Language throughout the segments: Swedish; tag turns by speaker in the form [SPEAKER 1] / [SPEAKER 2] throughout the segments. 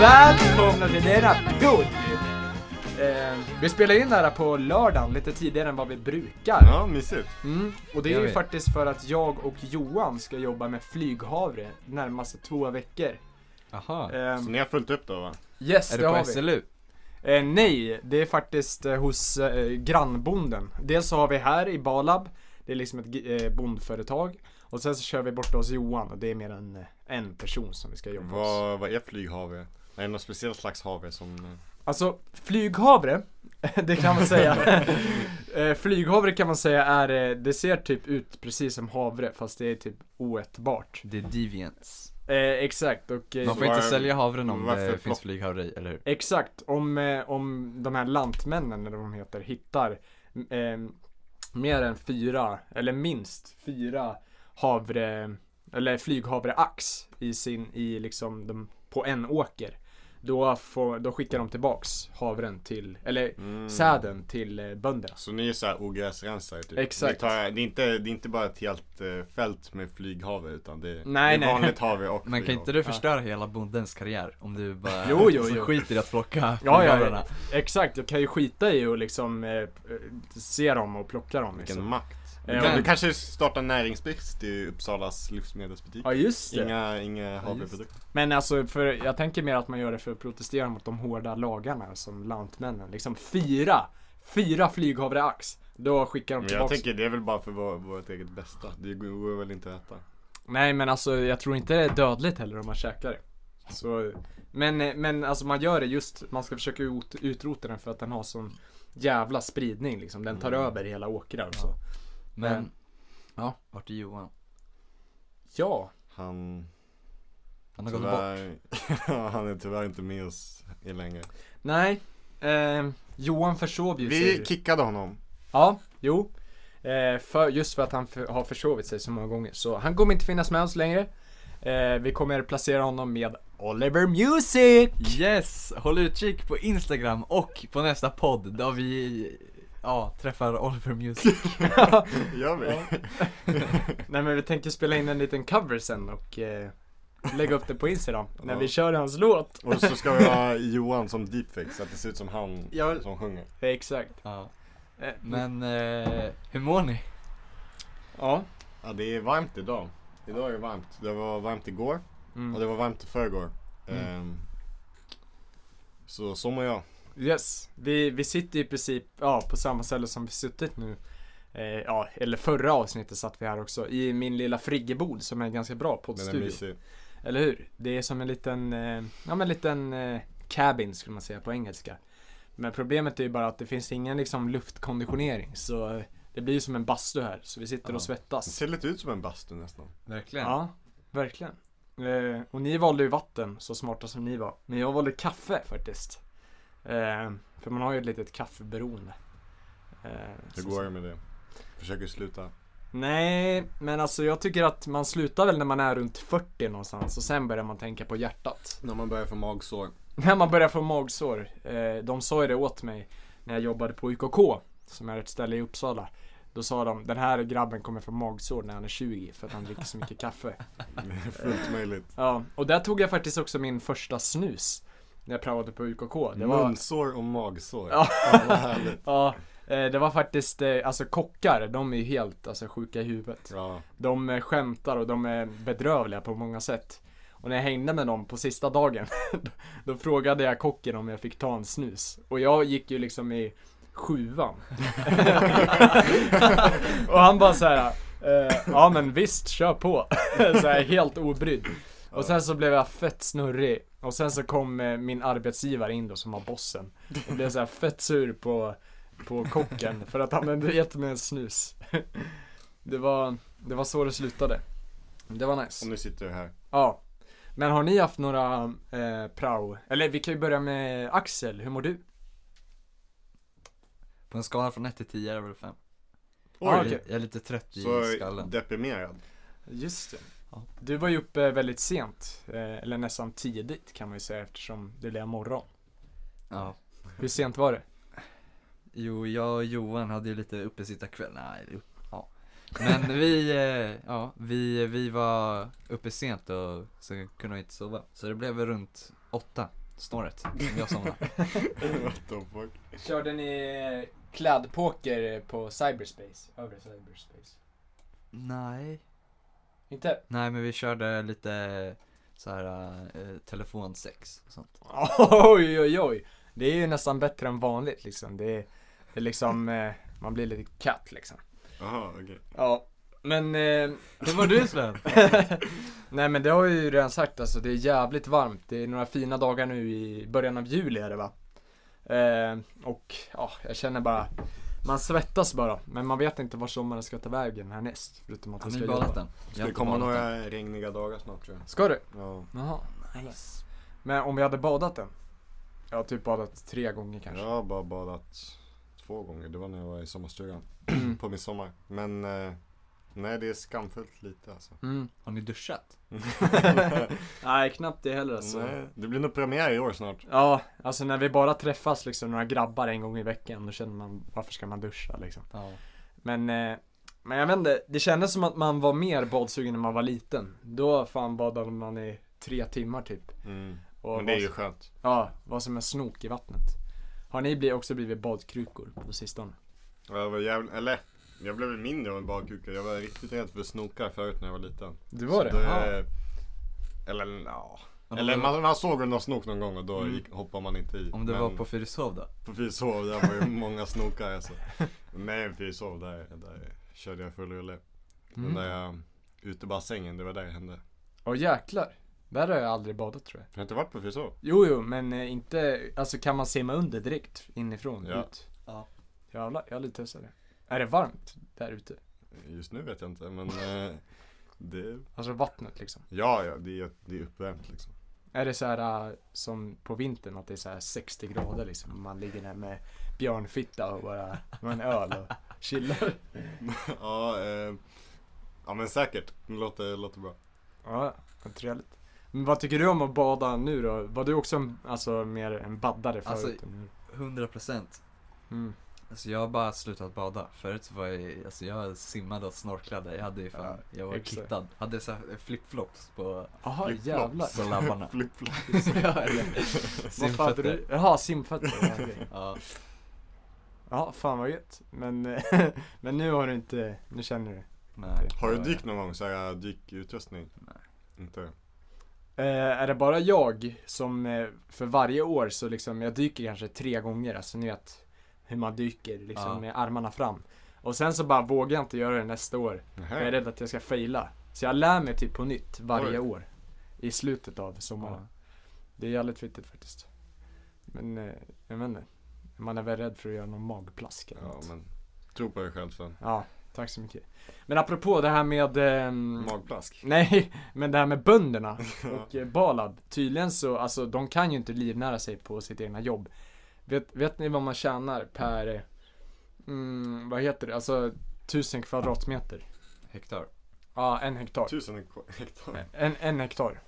[SPEAKER 1] Välkomna till denna podd! Eh, vi spelar in det här på lördagen, lite tidigare än vad vi brukar.
[SPEAKER 2] Ja, mysigt.
[SPEAKER 1] Mm. Och det
[SPEAKER 3] Jag
[SPEAKER 1] är ju
[SPEAKER 3] vet.
[SPEAKER 1] faktiskt för att jag och Johan ska jobba med flyghavre närmaste två veckor.
[SPEAKER 3] Aha.
[SPEAKER 1] Eh,
[SPEAKER 2] Så ni har fullt upp då va?
[SPEAKER 1] yes,
[SPEAKER 3] Är
[SPEAKER 1] det
[SPEAKER 3] det
[SPEAKER 1] har
[SPEAKER 3] på
[SPEAKER 1] vi.
[SPEAKER 3] SLU?
[SPEAKER 1] Eh, nej, det är faktiskt eh, hos eh, grannbonden. Dels så har vi här i Balab, det är liksom ett gi- eh, bondföretag. Och sen så kör vi borta hos Johan och det är mer än eh, en person som vi ska jobba hos.
[SPEAKER 2] Vad, vad är flyghavre? Är det någon speciell slags havre som... eh,
[SPEAKER 1] Alltså flyghavre, det kan man säga. Eh, flyghavre kan man säga är, eh, det ser typ ut precis som havre fast det är typ oätbart.
[SPEAKER 3] Det är deviants.
[SPEAKER 1] Eh, exakt och eh,
[SPEAKER 3] Man får inte
[SPEAKER 2] Var-
[SPEAKER 3] sälja havren om
[SPEAKER 2] varför
[SPEAKER 3] det
[SPEAKER 2] plock-
[SPEAKER 3] finns flyghavre i, eller hur?
[SPEAKER 1] exakt om, eh, om de här lantmännen eller vad de heter hittar eh, mer än fyra eller minst fyra havre eller flyghavreax i sin i liksom de, på en åker. Då, får, då skickar de tillbaks havren till, eller
[SPEAKER 2] Mm.
[SPEAKER 1] säden till eh, bönderna.
[SPEAKER 2] Så ni är såhär ogräsrensare typ?
[SPEAKER 1] Exakt.
[SPEAKER 2] Ni tar, det, är inte, det är inte bara ett helt eh, fält med flyghavre utan det är,
[SPEAKER 1] Nej,
[SPEAKER 2] det
[SPEAKER 1] nej.
[SPEAKER 2] är vanligt havre och
[SPEAKER 3] Men kan inte
[SPEAKER 2] flyghavre.
[SPEAKER 3] du förstöra hela bondens karriär om du bara
[SPEAKER 1] Jo, jo,
[SPEAKER 3] så
[SPEAKER 1] jo.
[SPEAKER 3] skiter i att plocka
[SPEAKER 1] Ja, ja,
[SPEAKER 3] flyghavrarna?
[SPEAKER 1] Exakt, jag kan ju skita i och liksom eh, se dem och plocka dem
[SPEAKER 2] Vilken
[SPEAKER 1] liksom.
[SPEAKER 2] makt.
[SPEAKER 1] Eh,
[SPEAKER 2] Men
[SPEAKER 3] men-
[SPEAKER 2] Du kanske startar näringsbrist i Uppsalas livsmedelsbutik?
[SPEAKER 1] Ja just det.
[SPEAKER 2] Inga, inga havreprodukter?
[SPEAKER 1] Men alltså för, jag tänker mer att man gör det för att protestera mot de hårda lagarna som lantmännen. Liksom fyra, fyra flyghavreax. Då skickar de
[SPEAKER 2] Men jag
[SPEAKER 1] tillbaks.
[SPEAKER 2] tänker det är väl bara för vår, vårt eget bästa. Det går väl inte att äta?
[SPEAKER 1] Nej men alltså jag tror inte det är dödligt heller om man käkar det. Så, men, men alltså man gör det just, man ska försöka ut, utrota den för att den har sån jävla spridning liksom. Den
[SPEAKER 2] Mm.
[SPEAKER 1] tar över hela åkrar och så.
[SPEAKER 3] Men,
[SPEAKER 1] Men-
[SPEAKER 3] ja, vart är Johan?
[SPEAKER 1] Ja,
[SPEAKER 2] Han...
[SPEAKER 3] Han har gått bort.
[SPEAKER 2] Tyvärr, han är tyvärr inte med oss i längre.
[SPEAKER 1] nej. Eh, Johan försov ju säger
[SPEAKER 2] Vi
[SPEAKER 1] du.
[SPEAKER 2] kickade honom.
[SPEAKER 1] Ja, jo. Eh, för, just för att han för, har försovit sig så många gånger. Så han kommer inte finnas med oss längre. Eh, vi kommer placera honom med Oliver Music!
[SPEAKER 3] Yes! Håll utkik på Instagram och på nästa podd där vi, ja, träffar Oliver Music.
[SPEAKER 2] Gör vi?
[SPEAKER 1] Nej men vi tänker spela in en liten cover sen och eh, lägga upp det på Instagram när
[SPEAKER 2] Ja.
[SPEAKER 1] vi kör hans låt.
[SPEAKER 2] Och så ska vi ha Johan som deepfake så att det ser ut som han
[SPEAKER 1] Ja.
[SPEAKER 2] som sjunger.
[SPEAKER 1] Eh, Exakt.
[SPEAKER 3] Ja.
[SPEAKER 1] Eh,
[SPEAKER 3] Men, eh, hur mår ni?
[SPEAKER 1] Ja.
[SPEAKER 2] Ja, det är varmt idag. Idag är det varmt. Det var varmt igår och
[SPEAKER 1] Mm.
[SPEAKER 2] det var varmt i förrgår. Ehm, så så mår jag.
[SPEAKER 1] Yes. Vi, vi sitter i princip ja, på samma ställe som vi suttit nu. Eh, ja, eller förra avsnittet satt vi här också. I min lilla friggebod som är en ganska bra
[SPEAKER 2] Den är
[SPEAKER 1] poddstudio.
[SPEAKER 2] mysig.
[SPEAKER 1] Eller hur? Det är som en liten, eh, ja men en liten eh, cabin skulle man säga på engelska. Men problemet är ju bara att det finns ingen liksom luftkonditionering så eh, det blir ju som en bastu här så vi sitter
[SPEAKER 3] Ja.
[SPEAKER 1] och
[SPEAKER 2] Det
[SPEAKER 1] svettas.
[SPEAKER 2] ser lite ut som en bastu nästan.
[SPEAKER 3] Verkligen.
[SPEAKER 1] Ja, verkligen. Eh, och ni valde ju vatten, så smarta som ni var. Men jag valde kaffe faktiskt. Eh, för man har ju ett litet kaffeberoende. Eh,
[SPEAKER 2] Hur
[SPEAKER 1] så-
[SPEAKER 2] går det med det? Försöker sluta.
[SPEAKER 1] Nej, men alltså jag tycker att man slutar väl när man är runt 40 någonstans och sen börjar man tänka på hjärtat.
[SPEAKER 2] När man börjar få magsår.
[SPEAKER 1] När man börjar få magsår. Eh, de sa ju det åt mig när jag jobbade på UKK, som är ett ställe i Uppsala. Då sa de, den här grabben kommer få magsår när han är 20 för att han dricker så mycket kaffe.
[SPEAKER 2] Fullt möjligt.
[SPEAKER 1] Ja, och där tog jag faktiskt också min första snus. När jag prövade på UKK. Det var,
[SPEAKER 2] Munsår och magsår.
[SPEAKER 1] Ja.
[SPEAKER 2] Fan, vad härligt.
[SPEAKER 1] ja, eh, det var faktiskt, eh, alltså kockar, de är ju helt alltså, sjuka i huvudet.
[SPEAKER 2] Ja.
[SPEAKER 1] De eh, skämtar och de är bedrövliga på många sätt. Och när jag hängde med dem på sista dagen, då frågade jag kocken om jag fick ta en snus. Och jag gick ju liksom i sjuan. och han bara så här, eh, ja men visst, kör på. så här, helt obrydd. Och sen så blev jag fett snurrig. Och sen så kom eh, min arbetsgivare in då som var bossen. Och blev så här fett sur på, på kocken för att han hade gett mig en snus. det, var, det var så det slutade. Det var nice.
[SPEAKER 2] Och nu sitter du här.
[SPEAKER 1] Ja. Men har ni haft några eh, prao? Eller vi kan ju börja med Axel, hur mår du?
[SPEAKER 3] På en skala från 1 till 10 är det väl 5.
[SPEAKER 1] Ja,
[SPEAKER 2] Oj,
[SPEAKER 1] Ah, okej.
[SPEAKER 3] Jag är lite trött i
[SPEAKER 2] så
[SPEAKER 3] skallen.
[SPEAKER 2] deprimerad.
[SPEAKER 1] Just det.
[SPEAKER 3] Ja.
[SPEAKER 1] Du var ju uppe väldigt sent, eh, eller nästan tidigt kan man ju säga eftersom det blev morgon.
[SPEAKER 3] Ja.
[SPEAKER 1] Hur sent var det?
[SPEAKER 3] Jo, jag och Johan hade ju lite uppesittarkväll. Nej, jo, ja. Men vi, eh, ja, vi, vi var uppe sent och så kunde vi inte sova. Så det blev väl runt åtta, snåret, som jag somnade.
[SPEAKER 2] What the fuck.
[SPEAKER 1] Körde ni klädpoker på cyberspace? Över cyberspace?
[SPEAKER 3] Nej.
[SPEAKER 1] Inte?
[SPEAKER 3] Nej, men vi körde lite så här eh, telefonsex och sånt.
[SPEAKER 1] Oj, oj, oj. Det är ju nästan bättre än vanligt liksom. Det är, det är liksom, eh, man blir lite katt liksom.
[SPEAKER 2] Jaha, okej.
[SPEAKER 1] Ja, men eh,
[SPEAKER 3] Hur var du Sven?
[SPEAKER 1] Nej men det har jag ju redan sagt alltså, det är jävligt varmt. Det är några fina dagar nu i början av juli är det va? Eh, och ja, jag känner bara, man svettas bara. Men man vet inte var sommaren ska ta vägen härnäst. Förutom att vi
[SPEAKER 3] Har
[SPEAKER 1] ska
[SPEAKER 3] ni
[SPEAKER 1] jobba.
[SPEAKER 3] badat den?
[SPEAKER 2] Ska det komma några regniga dagar snart tror jag.
[SPEAKER 1] Ska du?
[SPEAKER 2] Ja.
[SPEAKER 1] Jaha. Nice. Men om vi hade badat den? Jag har typ badat tre gånger kanske.
[SPEAKER 2] Jag har bara badat två gånger. Det var när jag var i sommarstugan. På midsommar. Men eh, nej, det är skamfullt lite alltså.
[SPEAKER 1] Mm.
[SPEAKER 3] Har ni duschat?
[SPEAKER 1] Nej, knappt det heller alltså.
[SPEAKER 2] nej, det blir nog premiär i år snart.
[SPEAKER 1] Ja, alltså när vi bara träffas liksom några grabbar en gång i veckan, då känner man, varför ska man duscha liksom?
[SPEAKER 3] Ja.
[SPEAKER 1] Men, eh, men jag vet inte, det kändes som att man var mer badsugen när man var liten. Då fan badade man i tre timmar typ.
[SPEAKER 2] Mm.
[SPEAKER 1] Och
[SPEAKER 2] Men det är
[SPEAKER 1] var-
[SPEAKER 2] ju skönt.
[SPEAKER 1] Ja, var som en snok i vattnet. Har ni bli, också blivit badkrukor på sistone?
[SPEAKER 2] Ja, Jag var jävla, eller jag blev väl mindre av en badkuka. Jag var riktigt rädd för snokar förut när jag var liten.
[SPEAKER 1] Du var
[SPEAKER 2] Så eh,
[SPEAKER 1] det? Ja.
[SPEAKER 2] eller ja.
[SPEAKER 3] Om
[SPEAKER 2] Eller
[SPEAKER 3] du-
[SPEAKER 2] man, man såg en snok någon gång och då
[SPEAKER 1] Mm.
[SPEAKER 2] gick, hoppade man inte i.
[SPEAKER 3] Om det
[SPEAKER 2] Men
[SPEAKER 3] var på Fyrishov då?
[SPEAKER 2] på Fyrishov, där var ju många snokar alltså. Men Fyrishov, där, där körde jag full rulle. Den
[SPEAKER 1] Mm.
[SPEAKER 2] där eh, utebassängen, det var där det hände.
[SPEAKER 1] Åh jäklar. Där har jag aldrig badat tror jag.
[SPEAKER 2] Jag har inte varit på Fyrishov.
[SPEAKER 1] Jo, jo, men eh, inte, alltså kan man simma under direkt inifrån?
[SPEAKER 2] Ja.
[SPEAKER 1] Ut?
[SPEAKER 3] Ja.
[SPEAKER 1] Jävlar, jag är lite tösare. Är det varmt där ute?
[SPEAKER 2] Just nu vet jag inte men eh, det,
[SPEAKER 1] Alltså vattnet liksom?
[SPEAKER 2] ja ja, det är, det är uppvärmt liksom.
[SPEAKER 1] Är det så här äh, som på vintern att det är så här 60 grader liksom? Man ligger där med björnfitta och bara med en öl och chillar.
[SPEAKER 2] ja, eh, ja men säkert, det låter, låter bra.
[SPEAKER 1] Ja, vad trevligt. Men vad tycker du om att bada nu då? Var du också en, alltså mer en baddare
[SPEAKER 3] Alltså-
[SPEAKER 1] förut? än nu?
[SPEAKER 3] 100 procent.
[SPEAKER 1] Mm.
[SPEAKER 3] Alltså jag har bara slutat bada. Förut så var jag, alltså jag simmade och snorklade. Jag hade ju fan, jag var
[SPEAKER 1] exakt.
[SPEAKER 3] kittad. Hade så här flipflops på,
[SPEAKER 1] Jaha,
[SPEAKER 2] Flip-flops.
[SPEAKER 1] jävlar.
[SPEAKER 3] på labbarna.
[SPEAKER 2] Flip-flop.
[SPEAKER 3] Ja, eller-
[SPEAKER 1] Vad fan hade du?
[SPEAKER 3] Simfötter.
[SPEAKER 1] Jaha, simfötter. ja, okej.
[SPEAKER 3] Ja,
[SPEAKER 1] Ja, fan vad gött. Men, eh, men nu har du inte, nu känner du.
[SPEAKER 3] nej.
[SPEAKER 2] Har du dykt någon gång? Såhär dykutrustning?
[SPEAKER 3] Nej.
[SPEAKER 2] Inte?
[SPEAKER 1] Eh, är det bara jag som eh, för varje år så liksom, jag dyker kanske tre gånger, alltså ni vet hur man dyker liksom
[SPEAKER 3] Ja.
[SPEAKER 1] med armarna fram. Och sen så bara vågar jag inte göra det nästa år, för jag är
[SPEAKER 2] Nej.
[SPEAKER 1] rädd att jag ska faila. Så jag lär mig typ på nytt varje
[SPEAKER 2] Oj.
[SPEAKER 1] år. I slutet av sommaren.
[SPEAKER 3] Ja.
[SPEAKER 1] Det är jävligt fittigt faktiskt. Men eh, jag vet inte, man är väl rädd för att göra någon magplask eller
[SPEAKER 2] Ja
[SPEAKER 1] något.
[SPEAKER 2] men, tro på dig själv sen.
[SPEAKER 1] ja, tack så mycket. Men apropå det här med ehm,
[SPEAKER 2] Magplask.
[SPEAKER 1] Nej, men det här med bönderna
[SPEAKER 2] Ja.
[SPEAKER 1] och eh, Balab. Tydligen så, alltså de kan ju inte livnära sig på sitt egna jobb. Vet, vet ni vad man tjänar per, eh, mm, vad heter det, alltså tusen kvadratmeter?
[SPEAKER 3] Hektar.
[SPEAKER 1] Ja, en hektar.
[SPEAKER 2] Tusen hektar.
[SPEAKER 1] En, en hektar.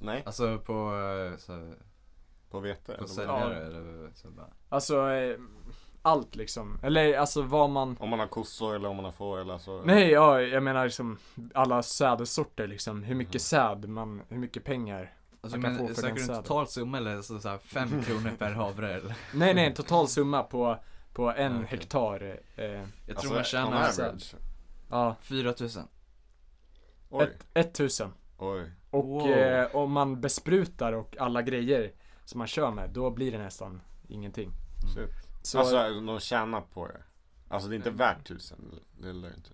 [SPEAKER 2] Nej.
[SPEAKER 3] Alltså på, eh, så, här,
[SPEAKER 2] På vete?
[SPEAKER 3] på
[SPEAKER 2] eller vad?
[SPEAKER 1] Ja.
[SPEAKER 3] säljare eller så bara.
[SPEAKER 1] Alltså, eh, allt liksom. Eller alltså vad man
[SPEAKER 2] Om man har kossor eller om man har får eller alltså- så.
[SPEAKER 1] Nej, ja, jag menar liksom alla sädessorter liksom. Hur mycket säd man, hur mycket pengar.
[SPEAKER 3] Alltså
[SPEAKER 1] Man kan få
[SPEAKER 3] men
[SPEAKER 1] för
[SPEAKER 3] söker
[SPEAKER 1] den
[SPEAKER 3] du en
[SPEAKER 1] säden.
[SPEAKER 3] total summa eller alltså, så, så här 5 kronor per havre eller?
[SPEAKER 1] Nej, nej, en total summa på, på en
[SPEAKER 3] Ja, okej.
[SPEAKER 1] hektar. Eh,
[SPEAKER 3] Jag
[SPEAKER 2] Alltså,
[SPEAKER 3] tror man
[SPEAKER 2] on
[SPEAKER 3] tjänar så här
[SPEAKER 2] average.
[SPEAKER 1] ja,
[SPEAKER 3] 4000.
[SPEAKER 2] Oj,
[SPEAKER 1] ett, ett tusen.
[SPEAKER 2] oj.
[SPEAKER 1] Och
[SPEAKER 3] Wow.
[SPEAKER 1] eh, om man besprutar och alla grejer som man kör med, då blir det nästan ingenting.
[SPEAKER 2] Shit.
[SPEAKER 1] Så, alltså,
[SPEAKER 2] Alltså de tjänar på det. Alltså det är inte värt tusen. Det lär inte.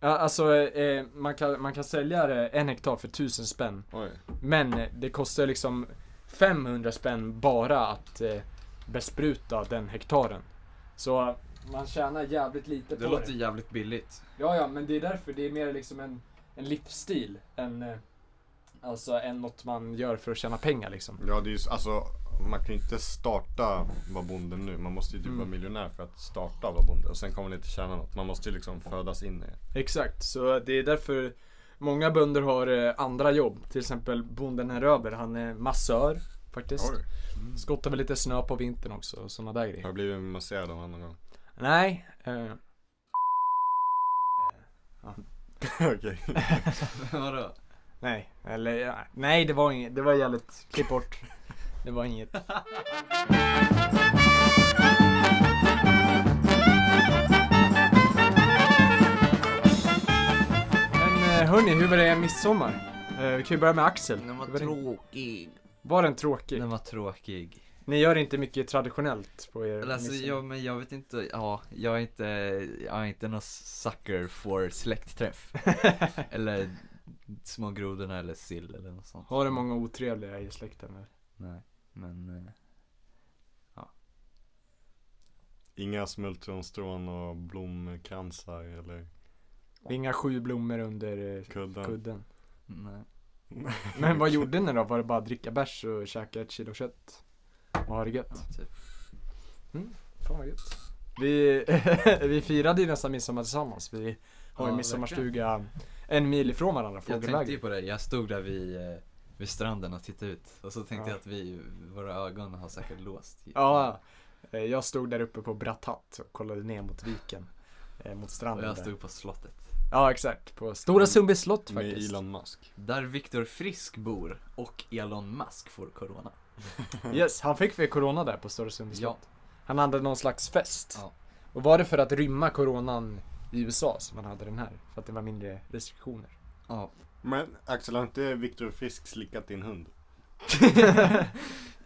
[SPEAKER 1] alltså eh, man, kan, man kan sälja det en hektar för tusen spänn.
[SPEAKER 2] Oj.
[SPEAKER 1] Men det kostar liksom 500 spänn bara att eh, bespruta den hektaren. Så eh, man tjänar jävligt lite
[SPEAKER 3] Det
[SPEAKER 1] på
[SPEAKER 3] låter
[SPEAKER 1] det.
[SPEAKER 3] jävligt billigt.
[SPEAKER 1] Ja, ja, men det är därför det är mer liksom en, en livsstil än eh, Alltså än något man gör för att tjäna pengar liksom.
[SPEAKER 2] Ja, det är ju, s- alltså man kan ju inte starta vara bonde nu. Man måste ju typ
[SPEAKER 1] Mm.
[SPEAKER 2] vara miljonär för att starta vara bonde. Och sen kommer man inte tjäna något. Man måste ju liksom födas in i det.
[SPEAKER 1] Exakt, så det är därför många bönder har eh, andra jobb. Till exempel bonden här över, han är massör faktiskt.
[SPEAKER 2] Oj,
[SPEAKER 1] Skottar väl lite snö på vintern också och sådana där
[SPEAKER 2] Har
[SPEAKER 1] grejer.
[SPEAKER 2] jag blivit masserad av honom någon gång?
[SPEAKER 1] Nej. Eh,
[SPEAKER 2] Okej.
[SPEAKER 3] Vadå?
[SPEAKER 1] nej, eller ja, nej det var inget, det var jävligt, klipp bort. Det var inget. Men eh, hörni, hur var det midsommar? Eh, vi kan ju börja med Axel.
[SPEAKER 4] Den var
[SPEAKER 1] Hur var, din-
[SPEAKER 4] tråkig.
[SPEAKER 1] var den tråkig?
[SPEAKER 3] Den var tråkig.
[SPEAKER 1] Ni gör inte mycket traditionellt på er
[SPEAKER 3] Eller Alltså,
[SPEAKER 1] midsommar.
[SPEAKER 3] jag, men jag vet inte, ja, jag är inte, jag är inte någon sucker for släktträff. eller små grodorna eller sill eller något sånt.
[SPEAKER 1] Har du många otrevliga i släkten? eller?
[SPEAKER 3] Nej, men eh,
[SPEAKER 2] Inga smultronstrån och blomkransar eller
[SPEAKER 1] Det är inga sju blommor under eh,
[SPEAKER 2] kuddar.
[SPEAKER 1] kudden.
[SPEAKER 3] nej.
[SPEAKER 1] Men vad gjorde ni då? Var det bara att dricka bärs och käka ett kilo kött? Och ha det
[SPEAKER 3] Ja,
[SPEAKER 1] gött?
[SPEAKER 3] typ.
[SPEAKER 1] Fan vad gött. Vi, vi firade ju nästan midsommar tillsammans. Vi har ju
[SPEAKER 3] Ja,
[SPEAKER 1] midsommarstuga en mil ifrån varandra,
[SPEAKER 3] Jag tänkte ju
[SPEAKER 1] fågelvägen.
[SPEAKER 3] på det, jag stod där vid, eh, vid stranden och tittade ut. Och så tänkte
[SPEAKER 1] Ja.
[SPEAKER 3] jag att vi, våra ögon har säkert låst.
[SPEAKER 1] Ja, eh, jag stod där uppe på Bratthatt och kollade ner mot viken. eh, Mot
[SPEAKER 3] Och
[SPEAKER 1] stranden
[SPEAKER 3] jag
[SPEAKER 1] där.
[SPEAKER 3] stod på slottet.
[SPEAKER 1] Ja, exakt. På Stora Sundby slott
[SPEAKER 2] Med
[SPEAKER 1] faktiskt.
[SPEAKER 2] Elon Musk.
[SPEAKER 3] Där Viktor Frisk bor och Elon Musk får corona.
[SPEAKER 1] Yes, han fick väl corona där på Stora Sundby
[SPEAKER 3] Mm. Ja.
[SPEAKER 1] slott? Han hade någon slags fest.
[SPEAKER 3] Ja.
[SPEAKER 1] Och var det för att rymma coronan i USA som man hade den här? För att det var mindre restriktioner?
[SPEAKER 3] Ja.
[SPEAKER 2] Men Axel, har inte Viktor Frisk slickat din hund?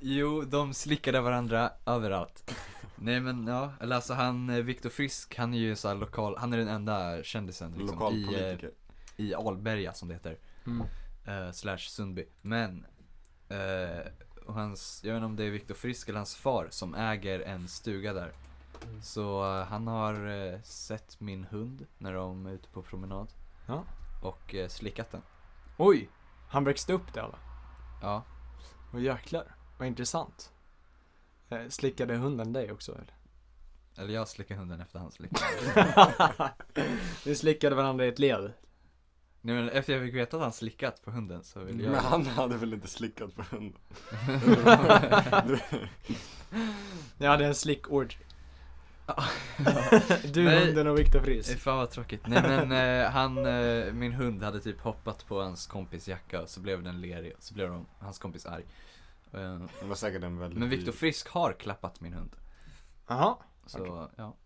[SPEAKER 3] Jo, de slickade varandra överallt. Nej men ja, eller alltså han, eh, Viktor Frisk, han är ju så här lokal, han är den enda kändisen liksom, i, eh,
[SPEAKER 2] Lokalpolitiker.
[SPEAKER 3] i Alberga som det heter.
[SPEAKER 1] Mm.
[SPEAKER 3] eh, slash Sundby. Men, eh, och hans, jag vet inte om det är Viktor Frisk eller hans far som äger en stuga där. Så eh, han har eh, sett min hund när de är ute på promenad.
[SPEAKER 1] Ja.
[SPEAKER 3] Och eh, slickat den.
[SPEAKER 1] Oj! Han växte upp där va?
[SPEAKER 3] Ja,
[SPEAKER 1] Åh jäklar, vad intressant. Eh, slickade hunden dig också eller?
[SPEAKER 3] eller jag slickade hunden efter han slickade.
[SPEAKER 1] Ni slickade varandra i ett led?
[SPEAKER 3] Nej men efter jag fick veta att han slickat på hunden så ville jag
[SPEAKER 2] Men han hade väl inte slickat på hunden?
[SPEAKER 1] Ni hade en slick orgy.
[SPEAKER 3] Ja.
[SPEAKER 1] du,
[SPEAKER 3] Nej.
[SPEAKER 1] hunden och Viktor
[SPEAKER 3] Eh,
[SPEAKER 1] Friis.
[SPEAKER 3] Fan vad tråkigt. Nej men eh, han, eh, min hund hade typ hoppat på hans kompis jacka och så blev den lerig och så blev de, hans kompis arg. Eh,
[SPEAKER 2] Det var säkert en väldigt
[SPEAKER 3] men Viktor
[SPEAKER 2] dyr-
[SPEAKER 3] Frisk har klappat min hund.
[SPEAKER 1] Jaha.
[SPEAKER 3] Så ja.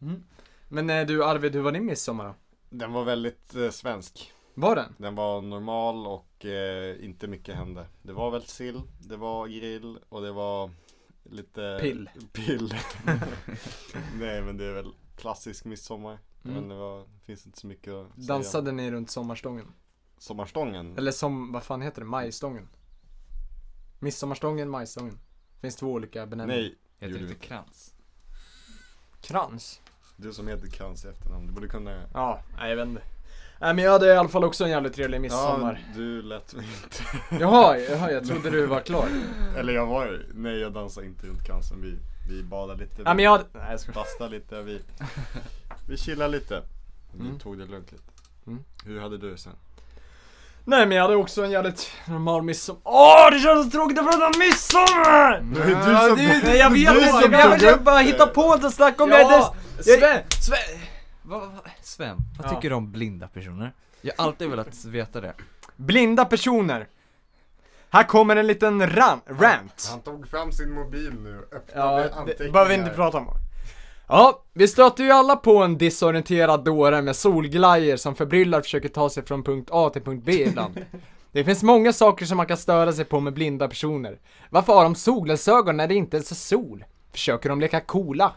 [SPEAKER 1] Mm. Men eh, du Arvid, hur var din midsommar då?
[SPEAKER 2] Den var väldigt eh, svensk.
[SPEAKER 1] Var den?
[SPEAKER 2] Den var normal och eh, inte mycket hände. Det var väl sill, det var grill och det var lite
[SPEAKER 1] Pill.
[SPEAKER 2] pill. Nej men det är väl klassisk midsommar.
[SPEAKER 1] Mm.
[SPEAKER 2] Men det var, finns inte så mycket att säga.
[SPEAKER 1] Dansade ni runt sommarstången?
[SPEAKER 2] Sommarstången?
[SPEAKER 1] Eller som, vad fan heter det, majstången? Midsommarstången, majstången. Finns två olika benämningar.
[SPEAKER 2] Nej,
[SPEAKER 3] Heter
[SPEAKER 2] Gjorde
[SPEAKER 3] det
[SPEAKER 2] vi
[SPEAKER 3] inte krans?
[SPEAKER 1] Krans?
[SPEAKER 2] du som heter Kans i efternamn, du borde kunna
[SPEAKER 1] Ja, nej jag vet inte. Nej men jag hade i alla fall också en jävligt trevlig midsommar.
[SPEAKER 2] Ja, du lät mig inte.
[SPEAKER 1] Jaha, jaha, jag trodde du var klar.
[SPEAKER 2] Eller jag var nej jag dansade inte runt Kansen. Vi, vi badade lite,
[SPEAKER 1] Nej men
[SPEAKER 2] vi
[SPEAKER 1] jag hade... Nej jag skojar.
[SPEAKER 2] bastade lite, vi, vi chillade lite. Vi
[SPEAKER 1] Mm.
[SPEAKER 2] tog det lugnt lite.
[SPEAKER 1] Mm.
[SPEAKER 2] Hur hade du det sen?
[SPEAKER 1] Nej men jag hade också en jävligt normal midsommar. Åh det känns så tråkigt att prata om midsommar!
[SPEAKER 2] Det är du som-
[SPEAKER 1] Nej jag vet
[SPEAKER 2] du
[SPEAKER 1] inte,
[SPEAKER 2] som
[SPEAKER 1] jag
[SPEAKER 2] tog
[SPEAKER 1] ville
[SPEAKER 2] upp
[SPEAKER 1] bara
[SPEAKER 2] det.
[SPEAKER 1] hitta på något och snacka om det.
[SPEAKER 3] Ja,
[SPEAKER 1] det. Jag,
[SPEAKER 3] Sven! Sven! Vad, vad, Eh, Sven, vad
[SPEAKER 1] Ja.
[SPEAKER 3] tycker du om blinda personer? Jag har alltid velat veta det.
[SPEAKER 1] Blinda personer. Här kommer en liten ran, rant.
[SPEAKER 2] Han tog fram sin mobil nu, öppnade
[SPEAKER 1] Ja, det
[SPEAKER 2] anteckningar.
[SPEAKER 1] behöver vi inte prata om. Ja, vi stöter ju alla på en disorienterad dåre med solglajjor som förbryllar försöker ta sig från punkt A till punkt B ibland. Det finns många saker som man kan störa sig på med blinda personer. Varför har de solglasögon när det inte ens är sol? Försöker de leka coola?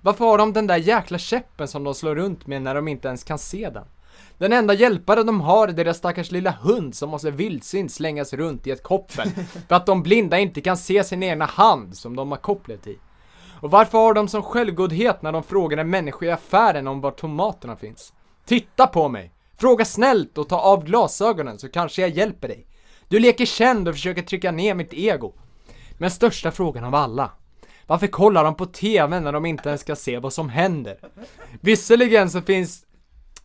[SPEAKER 1] Varför har de den där jäkla käppen som de slår runt med när de inte ens kan se den? Den enda hjälpare de har är deras stackars lilla hund som måste vildsint slängas runt i ett koppel för att de blinda inte kan se sin egna hand som de har kopplet i. Och varför har de som självgodhet när de frågar en människa i affären om var tomaterna finns? Titta på mig! Fråga snällt och ta av glasögonen så kanske jag hjälper dig. Du leker känd och försöker trycka ner mitt ego. Men största frågan av alla. Varför kollar de på TV när de inte ens ska se vad som händer? Visserligen så finns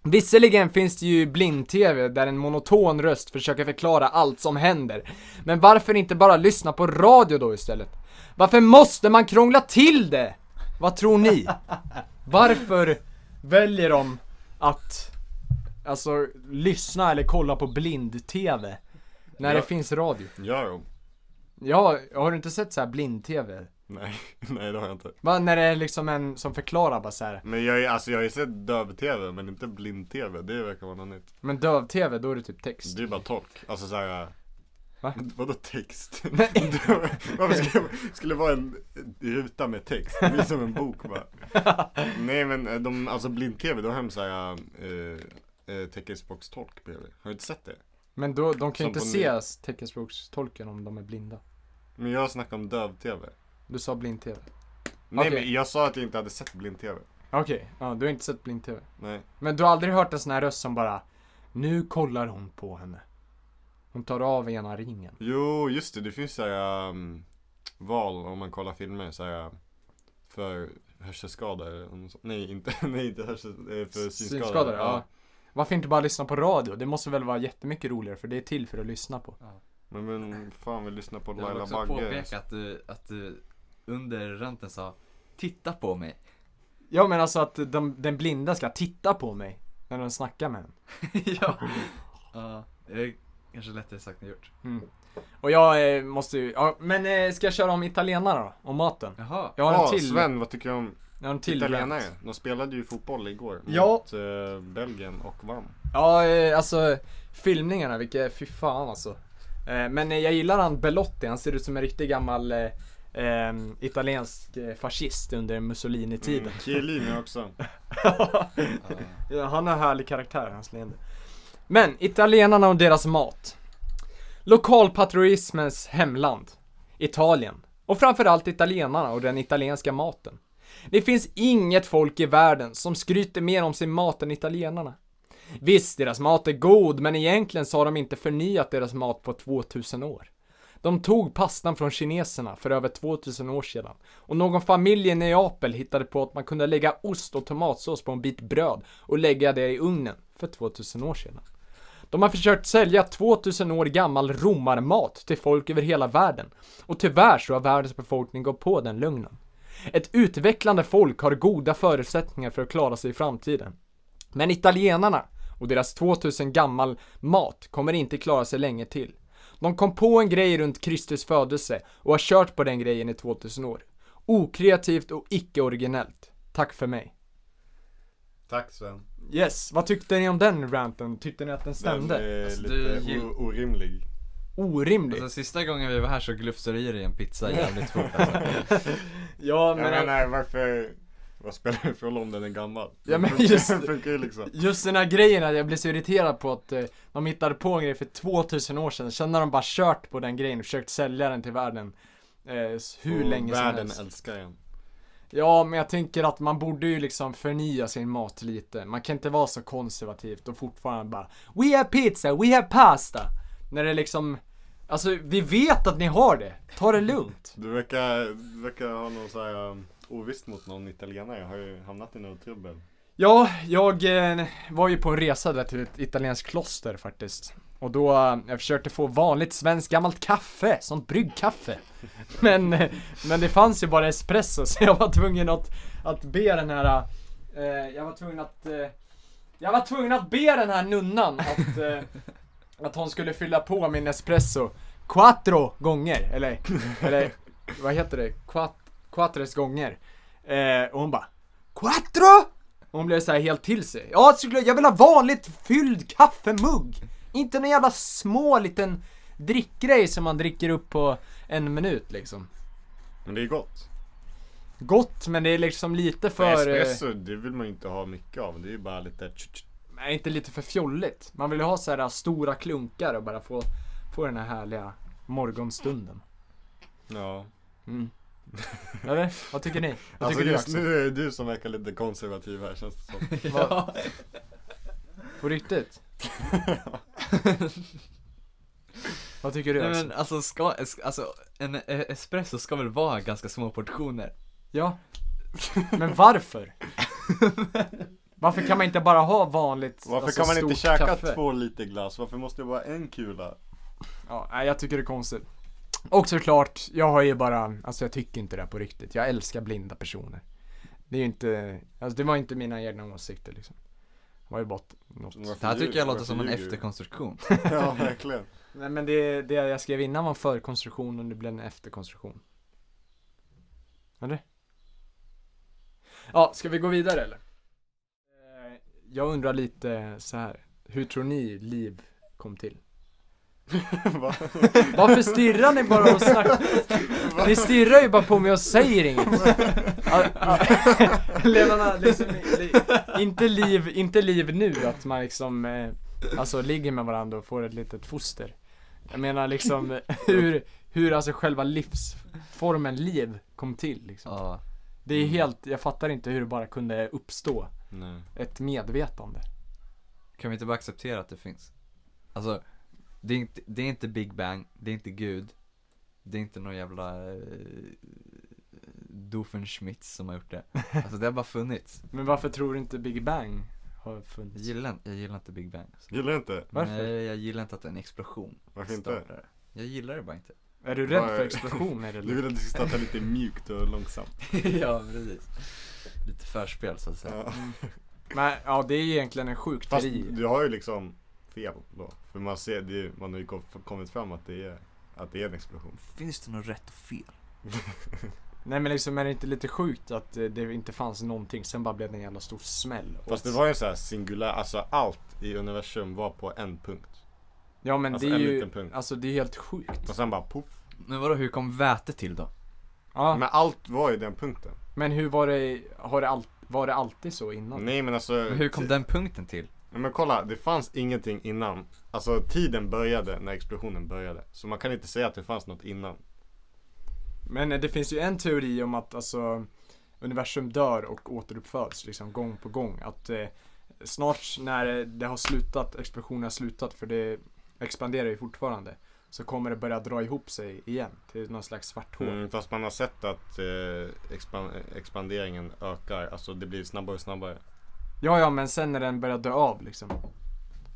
[SPEAKER 1] Visserligen finns det ju blind-tv där en monoton röst försöker förklara allt som händer. Men varför inte bara lyssna på radio då istället? Varför måste man krångla till det? Vad tror ni? Varför väljer de att, alltså, lyssna eller kolla på blind-tv? När det
[SPEAKER 2] Ja.
[SPEAKER 1] finns radio.
[SPEAKER 2] Ja, jo.
[SPEAKER 1] Ja, har du inte sett så här blind-tv?
[SPEAKER 2] Nej, nej det har jag inte.
[SPEAKER 1] Va, när det är liksom en som förklarar bara så här.
[SPEAKER 2] Men jag, är- alltså, jag har ju sett döv-tv, men inte blind-tv. Det verkar vara något nytt.
[SPEAKER 1] Men döv-tv, då är det typ text.
[SPEAKER 2] Det är bara tolk. Alltså såhär...
[SPEAKER 1] Va?
[SPEAKER 2] Vadå text?
[SPEAKER 1] Nej.
[SPEAKER 2] Varför skulle, skulle det vara en ruta med text? Det blir som en bok bara. Nej men eh, de, alltså blind-tv, då har de såhär eh, eh, teckenspråkstolk bredvid. Har du inte sett det?
[SPEAKER 1] Men då, de kan ju
[SPEAKER 2] Som
[SPEAKER 1] inte
[SPEAKER 2] på
[SPEAKER 1] se teckenspråkstolken om de är blinda.
[SPEAKER 2] Men jag snackar om döv-tv.
[SPEAKER 1] Du sa blind-tv.
[SPEAKER 2] Nej
[SPEAKER 1] Okej.
[SPEAKER 2] men jag sa att jag inte hade sett blind-tv.
[SPEAKER 1] Okej, ja, du har inte sett blind-tv.
[SPEAKER 2] Nej.
[SPEAKER 1] Men du har aldrig hört en sån här röst som bara Nu kollar hon på henne. Hon tar av ena ringen.
[SPEAKER 2] Jo, just det. Det finns såhär um, val om man kollar filmer såhär för hörselskada eller något sånt. Nej, inte, nej, inte hörsel, eh, för synskada.
[SPEAKER 1] Synskadade, ja. Varför inte bara lyssna på radio? Det måste väl vara jättemycket roligare för det är till för att lyssna på.
[SPEAKER 2] Men, men fan, vi lyssnar på
[SPEAKER 3] Jag vill
[SPEAKER 2] Laila
[SPEAKER 3] också
[SPEAKER 2] Bagge.
[SPEAKER 3] påpeka att du, att du under ranten sa Titta på mig.
[SPEAKER 1] Ja men alltså att de, den blinda ska titta på mig när den snackar med en.
[SPEAKER 3] ja. ja. Det är kanske lättare sagt än gjort.
[SPEAKER 1] Mm. Och jag eh, måste ju, ja, men eh, ska jag köra om italienare då? Om maten?
[SPEAKER 3] Jaha.
[SPEAKER 1] Jag har
[SPEAKER 2] Ja,
[SPEAKER 1] en till.
[SPEAKER 2] Sven, vad tycker du om
[SPEAKER 1] Jag har en till
[SPEAKER 2] italienare?
[SPEAKER 1] rant.
[SPEAKER 2] De spelade ju fotboll igår
[SPEAKER 1] Ja.
[SPEAKER 2] mot eh, Belgien och vann.
[SPEAKER 1] Ja, eh, alltså filmningarna, vilka, fy fan alltså. Eh, Men eh, jag gillar han Belotti, han ser ut som en riktig gammal eh, eh, italiensk eh, fascist under Mussolini-tiden.
[SPEAKER 2] Mm, Chiellini också.
[SPEAKER 1] Ja, han har härlig karaktär, hans leende. Men, italienarna och deras mat. Lokalpatriotismens hemland. Italien. Och framförallt italienarna och den italienska maten. Det finns inget folk i världen som skryter mer om sin mat än italienarna. Visst, deras mat är god, men egentligen så har de inte förnyat deras mat på 2000 år. De tog pastan från kineserna för över 2000 år sedan och någon familj i Neapel hittade på att man kunde lägga ost och tomatsås på en bit bröd och lägga det i ugnen för 2000 år sedan. De har försökt sälja 2000 år gammal romarmat till folk över hela världen och tyvärr så har världens befolkning gått på den lögnen. Ett utvecklande folk har goda förutsättningar för att klara sig i framtiden. Men italienarna och deras 2000 gammal mat kommer inte klara sig länge till. De kom på en grej runt Kristus födelse och har kört på den grejen i 2000 år. Okreativt och icke-originellt. Tack för mig.
[SPEAKER 2] Tack Sven.
[SPEAKER 1] Yes, vad tyckte ni om den ranten? Tyckte ni att den stämde?
[SPEAKER 2] Den eh, är
[SPEAKER 3] Alltså,
[SPEAKER 2] lite
[SPEAKER 3] du gill-
[SPEAKER 2] o- orimlig.
[SPEAKER 1] Orimlig.
[SPEAKER 3] Alltså sista gången vi var här så glufsade du i dig en pizza jävligt fort alltså.
[SPEAKER 1] ja,
[SPEAKER 2] Jag
[SPEAKER 1] men,
[SPEAKER 2] menar varför, vad spelar det för roll om den är gammal?
[SPEAKER 1] Ja, men
[SPEAKER 2] Den funkar-
[SPEAKER 1] just-
[SPEAKER 2] den funkar ju liksom.
[SPEAKER 1] just den här grejen att jag blir så irriterad på att eh, de hittade på en grej för 2000 år sedan. Sen har de bara kört på den grejen och försökt sälja den till världen. Eh, s- hur
[SPEAKER 2] Och
[SPEAKER 1] länge som
[SPEAKER 2] Världen
[SPEAKER 1] helst.
[SPEAKER 2] älskar en.
[SPEAKER 1] Ja, men jag tänker att man borde ju liksom förnya sin mat lite. Man kan inte vara så konservativt och fortfarande bara We have pizza, we have pasta. När det liksom, alltså vi vet att ni har det. Ta det lugnt.
[SPEAKER 2] Du verkar, du verkar ha någon så här um, ovist mot någon italienare. Jag har ju hamnat i något trubbel.
[SPEAKER 1] Ja, jag eh, var ju på en resa där till ett italienskt kloster faktiskt. Och då, eh, jag försökte få vanligt svenskt gammalt kaffe, sånt bryggkaffe. Men, eh, men det fanns ju bara espresso så jag var tvungen att, att be den här, eh, jag var tvungen att, eh, jag var tvungen att be den här nunnan att, eh, att hon skulle fylla på min espresso quattro gånger, eller, eller vad heter det, Quat, quattres gånger. Eh, och hon bara Quattro! Och hon blev så här helt till sig. Ja, skulle, jag vill ha vanligt fylld kaffemugg! Inte någon jävla små liten drickgrej som man dricker upp på en minut liksom.
[SPEAKER 2] Men det är gott.
[SPEAKER 1] Gott, men det är liksom lite
[SPEAKER 2] För
[SPEAKER 1] för... eh,
[SPEAKER 2] espresso, det vill man ju inte ha mycket av. Det är ju bara lite tch, tch.
[SPEAKER 1] Nej, inte lite för fjolligt. Man vill ju ha så här stora klunkar och bara få, få den här härliga morgonstunden.
[SPEAKER 2] Ja.
[SPEAKER 1] Mm. Eller? Vad tycker ni? Vad
[SPEAKER 2] Alltså
[SPEAKER 1] tycker
[SPEAKER 2] just
[SPEAKER 1] du Axel?
[SPEAKER 2] nu är det du som verkar lite konservativ här känns det som.
[SPEAKER 1] Vad- På riktigt? Vad tycker du?
[SPEAKER 3] Nej
[SPEAKER 1] Axel?
[SPEAKER 3] men alltså, ska, es- alltså en eh, espresso ska väl vara ganska små portioner?
[SPEAKER 1] Ja. Men varför? Varför kan man inte bara ha vanligt
[SPEAKER 2] Varför
[SPEAKER 1] alltså,
[SPEAKER 2] kan man inte
[SPEAKER 1] stort
[SPEAKER 2] käka
[SPEAKER 1] kaffe?
[SPEAKER 2] två liter glass? Varför måste det vara en kula?
[SPEAKER 1] Ja, nej, jag tycker det är konstigt. Och såklart, jag har ju bara, alltså jag tycker inte det här på riktigt. Jag älskar blinda personer. Det är ju inte, alltså det var inte mina egna åsikter liksom. Det var ju bara något.
[SPEAKER 2] Varför
[SPEAKER 3] Det här tycker jag
[SPEAKER 2] ljuger-
[SPEAKER 3] låter som en
[SPEAKER 2] varför ljuger
[SPEAKER 3] efterkonstruktion.
[SPEAKER 2] du? Ja, verkligen.
[SPEAKER 1] Nej men det, det jag skrev innan var en förkonstruktion och det blev en efterkonstruktion. Eller? Ja, ska vi gå vidare eller? Eh, Jag undrar lite så här. hur tror ni liv kom till?
[SPEAKER 2] Va?
[SPEAKER 1] Varför stirrar ni bara och snackar? Ni stirrar ju bara på mig och säger inget. Ja, ja. Levarna, liksom, li, inte, liv, inte liv nu, att man liksom eh, alltså, ligger med varandra och får ett litet foster. Jag menar liksom eh, hur, hur alltså själva livsformen liv kom till. Liksom.
[SPEAKER 3] Ja,
[SPEAKER 1] Det
[SPEAKER 2] Mm.
[SPEAKER 1] är helt, jag fattar inte hur det bara kunde uppstå
[SPEAKER 2] Nej.
[SPEAKER 1] ett medvetande.
[SPEAKER 3] kan vi inte bara acceptera att det finns? Alltså, det är inte, det är inte Big Bang, det är inte Gud, det är inte någon jävla eh, Doofenshmirtz som har gjort det. Alltså det har bara funnits.
[SPEAKER 1] Men varför tror du inte Big Bang har
[SPEAKER 3] Jag
[SPEAKER 1] funnits?
[SPEAKER 3] gillar, inte- jag gillar inte Big Bang. alltså.
[SPEAKER 2] Gillar du inte?
[SPEAKER 1] Varför?
[SPEAKER 3] Nej, jag gillar inte att en explosion
[SPEAKER 2] Varför inte?
[SPEAKER 3] startar. Jag gillar det bara inte.
[SPEAKER 1] Är du rädd för
[SPEAKER 2] Nej.
[SPEAKER 1] explosioner
[SPEAKER 2] Du
[SPEAKER 1] eller?
[SPEAKER 2] vill att du ska starta lite mjukt och långsamt.
[SPEAKER 3] ja, precis. Lite förspel så att säga.
[SPEAKER 2] Ja.
[SPEAKER 1] Men, ja det är ju egentligen en sjuk
[SPEAKER 2] Fast
[SPEAKER 1] teori.
[SPEAKER 2] du har ju liksom fel då. För man ser, det, är- man har ju kom- kommit fram att det är, att det är en explosion.
[SPEAKER 3] Finns det något rätt och fel?
[SPEAKER 1] Nej men liksom är det inte lite sjukt att eh, det inte fanns någonting, sen bara blev det en jävla stor smäll.
[SPEAKER 2] Fast
[SPEAKER 1] Och-
[SPEAKER 2] det var ju en sån här singulär, alltså allt i universum var på en punkt.
[SPEAKER 1] Ja men
[SPEAKER 2] alltså
[SPEAKER 1] det är
[SPEAKER 2] en
[SPEAKER 1] ju,
[SPEAKER 2] liten punkt.
[SPEAKER 1] alltså det är helt sjukt.
[SPEAKER 2] Och sen bara poff.
[SPEAKER 3] Men vadå, hur kom väte till då?
[SPEAKER 1] Ja, men,
[SPEAKER 2] Men allt var ju den punkten.
[SPEAKER 1] hur var det, har det all, var det alltid så innan?
[SPEAKER 2] Nej men alltså.
[SPEAKER 3] Men hur kom den punkten till?
[SPEAKER 2] Nej, Men kolla, det fanns ingenting innan. Alltså tiden började när explosionen började. Så man kan inte säga att det fanns något innan.
[SPEAKER 1] Men eh, det finns ju en teori om att alltså universum dör och återuppföds liksom gång på gång. Att eh, snart när eh, det har slutat, explosionen har slutat för det expanderar ju fortfarande. Så kommer det börja dra ihop sig igen till någon slags svart hål.
[SPEAKER 2] Mm, fast man har sett att eh, expan- expanderingen ökar. Alltså det blir snabbare och snabbare.
[SPEAKER 1] Ja ja men sen när den börjar dö av liksom.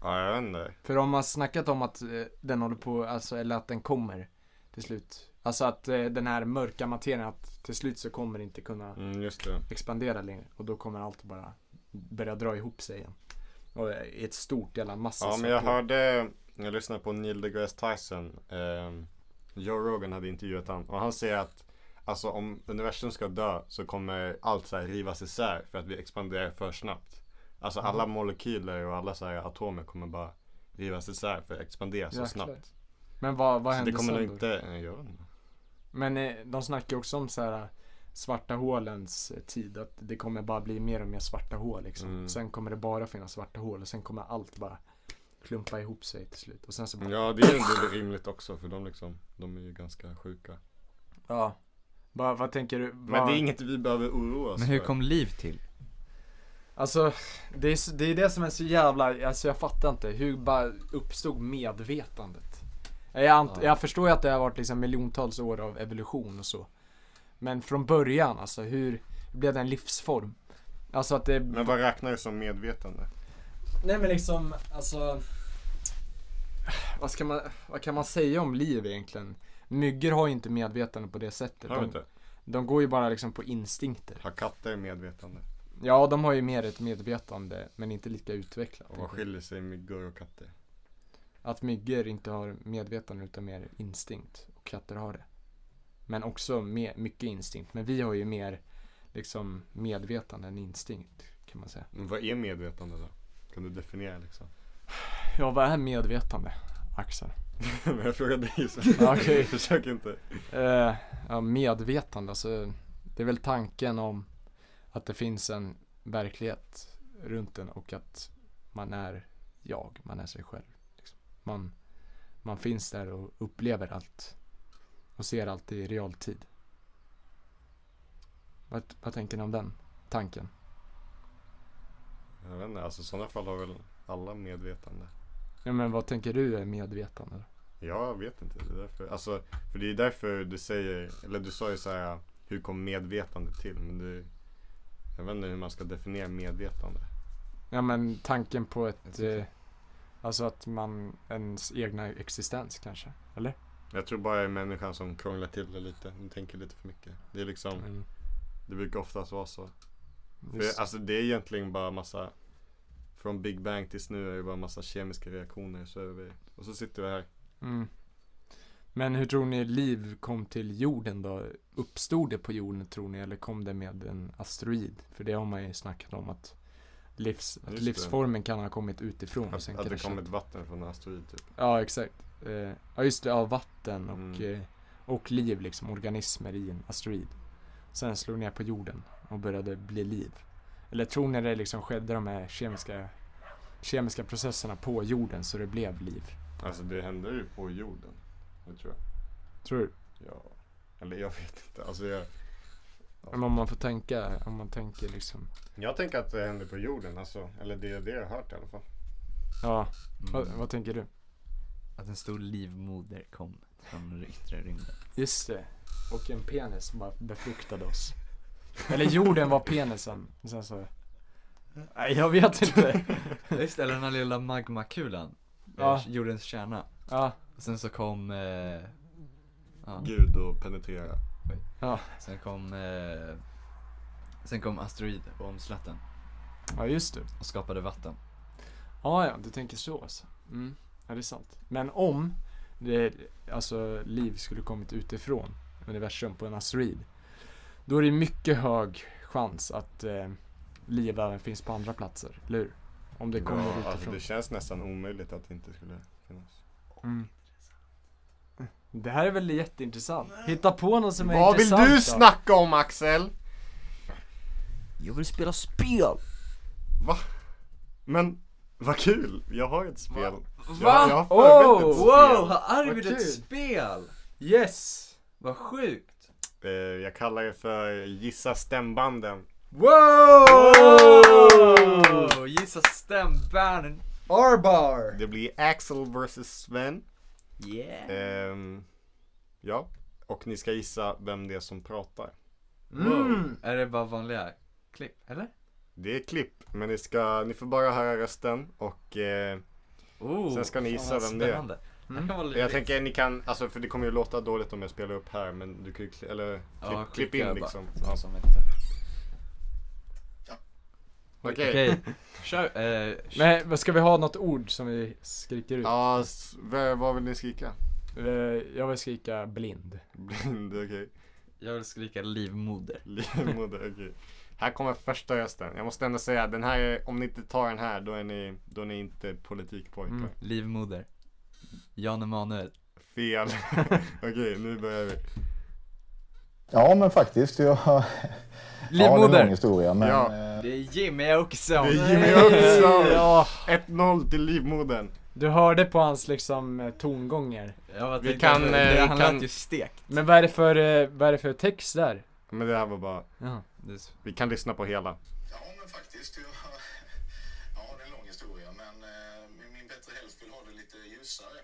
[SPEAKER 2] Ja, jag vet inte.
[SPEAKER 1] För de har snackat om att eh, den håller på, alltså, eller att den kommer till slut. Alltså att eh, den här mörka materien, att till slut så kommer det inte kunna
[SPEAKER 2] Mm, just det.
[SPEAKER 1] expandera längre. Och då kommer allt bara börja dra ihop sig igen. Och eh, i ett stort jävla massa
[SPEAKER 2] Ja, men jag
[SPEAKER 1] saker.
[SPEAKER 2] hörde, jag lyssnade på Neil deGrasse Tyson. Eh, Joe Rogan hade intervjuat han och han säger att alltså, om universum ska dö så kommer allt så här rivas isär för att vi expanderar för snabbt. Alltså alla molekyler och alla så här atomer kommer bara rivas isär för att expandera så
[SPEAKER 1] Jäklar.
[SPEAKER 2] snabbt.
[SPEAKER 1] Men vad, vad
[SPEAKER 2] Så det
[SPEAKER 1] händer
[SPEAKER 2] kommer nog
[SPEAKER 1] sen då?
[SPEAKER 2] inte, eh, jag vet inte.
[SPEAKER 1] Men eh, de snackar ju också om så här eh, svarta hålens eh, tid. Att det kommer bara bli mer och mer svarta hål liksom.
[SPEAKER 2] Mm.
[SPEAKER 1] Sen kommer det bara finnas svarta hål och sen kommer allt bara klumpa ihop sig till slut. Och sen så bara
[SPEAKER 2] Ja, det är ju inte rimligt också för de liksom, de är ju ganska sjuka.
[SPEAKER 1] Ja. Bara, vad tänker du?
[SPEAKER 2] Men
[SPEAKER 1] vad-
[SPEAKER 2] det är inget vi behöver oroa oss
[SPEAKER 3] Men hur
[SPEAKER 2] för.
[SPEAKER 3] kom liv till?
[SPEAKER 1] Alltså, det är, s- det är det som är så jävla, alltså jag fattar inte. Hur bara uppstod medvetandet? Jag, ant-
[SPEAKER 3] Ja.
[SPEAKER 1] jag förstår ju att det har varit liksom miljontals år av evolution och så. Men från början alltså, hur blev det en livsform? Alltså att det...
[SPEAKER 2] Men vad räknar du som medvetande?
[SPEAKER 1] Nej men liksom, alltså... Vad, ska man, vad kan man säga om liv egentligen? Myggor har ju inte medvetande på det sättet.
[SPEAKER 2] Har du
[SPEAKER 1] de,
[SPEAKER 2] inte?
[SPEAKER 1] de går ju bara liksom på instinkter.
[SPEAKER 2] Har katter medvetande?
[SPEAKER 1] Ja, de har ju mer ett medvetande, men inte lika utvecklat.
[SPEAKER 2] Och vad skiljer sig myggor och katter?
[SPEAKER 1] Att myggor inte har medvetande utan mer instinkt och katter har det. Men också me- mycket instinkt. Men vi har ju mer liksom medvetande än instinkt kan man säga.
[SPEAKER 2] Men vad är medvetande då? Kan du definiera liksom?
[SPEAKER 1] Ja, vad är medvetande? Axel.
[SPEAKER 2] Men jag frågar dig så.
[SPEAKER 1] Ja, okej.
[SPEAKER 2] Försök inte.
[SPEAKER 1] Eh, ja, medvetande, alltså det är väl tanken om att det finns en verklighet runt en och att man är jag, man är sig själv. Liksom. Man, man finns där och upplever allt och ser allt i realtid. Vad, vad tänker ni om den tanken?
[SPEAKER 2] Jag vet inte, alltså i sådana fall har väl alla medvetande.
[SPEAKER 1] Ja, men vad tänker du är medvetande? då?
[SPEAKER 2] Jag vet inte. Det är därför, alltså, för det är därför du säger, eller du sa ju så här, hur kom medvetande till? Men du, jag vet inte hur man ska definiera medvetande.
[SPEAKER 1] Ja men tanken på
[SPEAKER 3] Jag
[SPEAKER 1] ett,
[SPEAKER 3] tycker-
[SPEAKER 1] eh, alltså att man, ens egna existens kanske, eller?
[SPEAKER 2] Jag tror bara det är människan som krånglar till det lite. De tänker lite för mycket. Det är liksom,
[SPEAKER 1] Mm.
[SPEAKER 2] det brukar oftast vara så.
[SPEAKER 1] Just-
[SPEAKER 2] För, alltså det är egentligen bara massa Från Big Bang tills nu är det bara massa kemiska reaktioner så är vi, Och så sitter vi här
[SPEAKER 1] Mm. Men hur tror ni liv kom till jorden då? Uppstod det på jorden tror ni eller kom det med en asteroid? För det har man ju snackat om att, livs, att
[SPEAKER 2] Just det.
[SPEAKER 1] livsformen kan ha kommit utifrån. och
[SPEAKER 2] Att,
[SPEAKER 1] sen
[SPEAKER 2] att det
[SPEAKER 1] kraschat.
[SPEAKER 2] kommer ett vatten från en asteroid typ
[SPEAKER 1] Ja, exakt. Eh, ja, just det. Ja, vatten och,
[SPEAKER 2] Mm.
[SPEAKER 1] eh, och liv liksom. Organismer i en asteroid. Sen slog ner på jorden och började bli liv. Eller tror ni det liksom skedde de här kemiska, kemiska processerna på jorden så det blev liv?
[SPEAKER 2] Alltså det händer ju på jorden Det tror jag
[SPEAKER 1] Tror du?
[SPEAKER 2] Ja Eller jag vet inte alltså jag,
[SPEAKER 1] Men om man får tänka, om man tänker liksom.
[SPEAKER 2] jag tänker att det händer på jorden alltså Eller det är det jag har hört i alla fall
[SPEAKER 1] Ja, vad,
[SPEAKER 3] Mm.
[SPEAKER 1] vad tänker du?
[SPEAKER 3] Att en stor livmoder kom från yttre rymden.
[SPEAKER 1] Just det. Och en penis som bara befruktade oss. Eller jorden var penisen. Och Sen så... Nej, jag vet inte.
[SPEAKER 3] Just det, eller den här lilla magmakulan.
[SPEAKER 1] Ja.
[SPEAKER 3] Ja. Jordens kärna.
[SPEAKER 1] Ja,
[SPEAKER 3] Och sen så kom, eh, ja,
[SPEAKER 2] Gud och penetrera
[SPEAKER 3] sen kom, eh, sen kom asteroid och omslatt den
[SPEAKER 1] ja just det.
[SPEAKER 3] och skapade vatten.
[SPEAKER 1] Ja, ja, du tänker så alltså. Mm. Ja, det är sant. Men om det, alltså, liv skulle kommit utifrån universum på en asteroid, då är det mycket hög chans att eh, liv även finns på andra platser, eller hur? Om det kommer
[SPEAKER 2] ja, alltså,
[SPEAKER 1] utifrån.
[SPEAKER 2] Det känns nästan omöjligt att det inte skulle finnas
[SPEAKER 1] Mm. Det här är väl jätteintressant? Hitta på något som är
[SPEAKER 2] Vad vill
[SPEAKER 1] intressant
[SPEAKER 2] du
[SPEAKER 1] då.
[SPEAKER 2] snacka om Axel?
[SPEAKER 3] Jag vill spela spel!
[SPEAKER 2] Men vad kul! Jag har ett spel
[SPEAKER 3] Va?
[SPEAKER 2] Jag, jag har
[SPEAKER 1] Oh,
[SPEAKER 2] förberett ett spel.
[SPEAKER 3] Wow, har Arvid
[SPEAKER 1] Vad kul.
[SPEAKER 3] ett spel?
[SPEAKER 1] Yes!
[SPEAKER 3] Vad sjukt!
[SPEAKER 2] Eh, Jag kallar det för Gissa stämbanden.
[SPEAKER 1] Wow!
[SPEAKER 3] Wow, gissa stämbanden!
[SPEAKER 1] Arbar!
[SPEAKER 2] Det blir Axel vs Sven.
[SPEAKER 3] Yeah!
[SPEAKER 2] Ehm, ja, och ni ska gissa vem det är som pratar.
[SPEAKER 1] Mm.
[SPEAKER 3] Är det bara vanliga klipp, eller?
[SPEAKER 2] Det är klipp, men ni, ska, ni får bara höra rösten och eh,
[SPEAKER 3] Oh,
[SPEAKER 2] Sen ska ni
[SPEAKER 3] fan,
[SPEAKER 2] gissa
[SPEAKER 3] vad
[SPEAKER 2] vem det är. Mm.
[SPEAKER 3] spännande. Det kan vara lite-
[SPEAKER 2] jag tänker ni kan, alltså för det kommer ju låta dåligt om jag spelar upp här men du kan ju, kli- eller
[SPEAKER 3] Ja,
[SPEAKER 2] klipp, klipp
[SPEAKER 3] skicka
[SPEAKER 2] in
[SPEAKER 3] bara.
[SPEAKER 2] liksom.
[SPEAKER 3] Ja,
[SPEAKER 2] Ja.
[SPEAKER 3] som heter.
[SPEAKER 2] Okej.
[SPEAKER 3] Kör, eh,
[SPEAKER 1] Men vad ska vi ha något ord som vi skriker ut?
[SPEAKER 2] Ja, s- vad vad vill ni skrika?
[SPEAKER 1] Eh, Jag vill skrika blind.
[SPEAKER 2] Blind, okej.
[SPEAKER 3] jag vill skrika livmoder.
[SPEAKER 2] Livmoder, okej. Här kommer första rösten. Jag måste ändå säga, den här, är- om ni inte tar den här då är ni, då är ni inte politikpojkar.
[SPEAKER 1] Mm.
[SPEAKER 3] Livmoder. Jan Emanuel.
[SPEAKER 2] Fel. okej, nu börjar vi.
[SPEAKER 4] Ja, men faktiskt. Jag har ja, det är en lång
[SPEAKER 3] Livmoder!
[SPEAKER 4] historia, men
[SPEAKER 2] Ja.
[SPEAKER 4] eh,
[SPEAKER 3] Det är Jimmy Åkesson.
[SPEAKER 2] Det är Jimmy
[SPEAKER 1] Nej,
[SPEAKER 2] Åkesson.
[SPEAKER 1] Ja,
[SPEAKER 2] 1-0 till livmodern.
[SPEAKER 1] du hörde på hans liksom eh, tongånger.
[SPEAKER 3] Jag bara
[SPEAKER 2] Vi
[SPEAKER 3] tänkte
[SPEAKER 2] kan, eh,
[SPEAKER 3] att det,
[SPEAKER 2] vi
[SPEAKER 3] han
[SPEAKER 2] kan-
[SPEAKER 3] lät ju stekt.
[SPEAKER 1] Men vad är det för, eh, vad är det för text där?
[SPEAKER 2] Men det här var bara,
[SPEAKER 1] Ja.
[SPEAKER 3] Det är s-
[SPEAKER 2] vi kan lyssna på hela.
[SPEAKER 5] Ja, men faktiskt. Jag, ja, det är en lång historia, men eh, min- min bättre hälft vill ha det lite ljusare.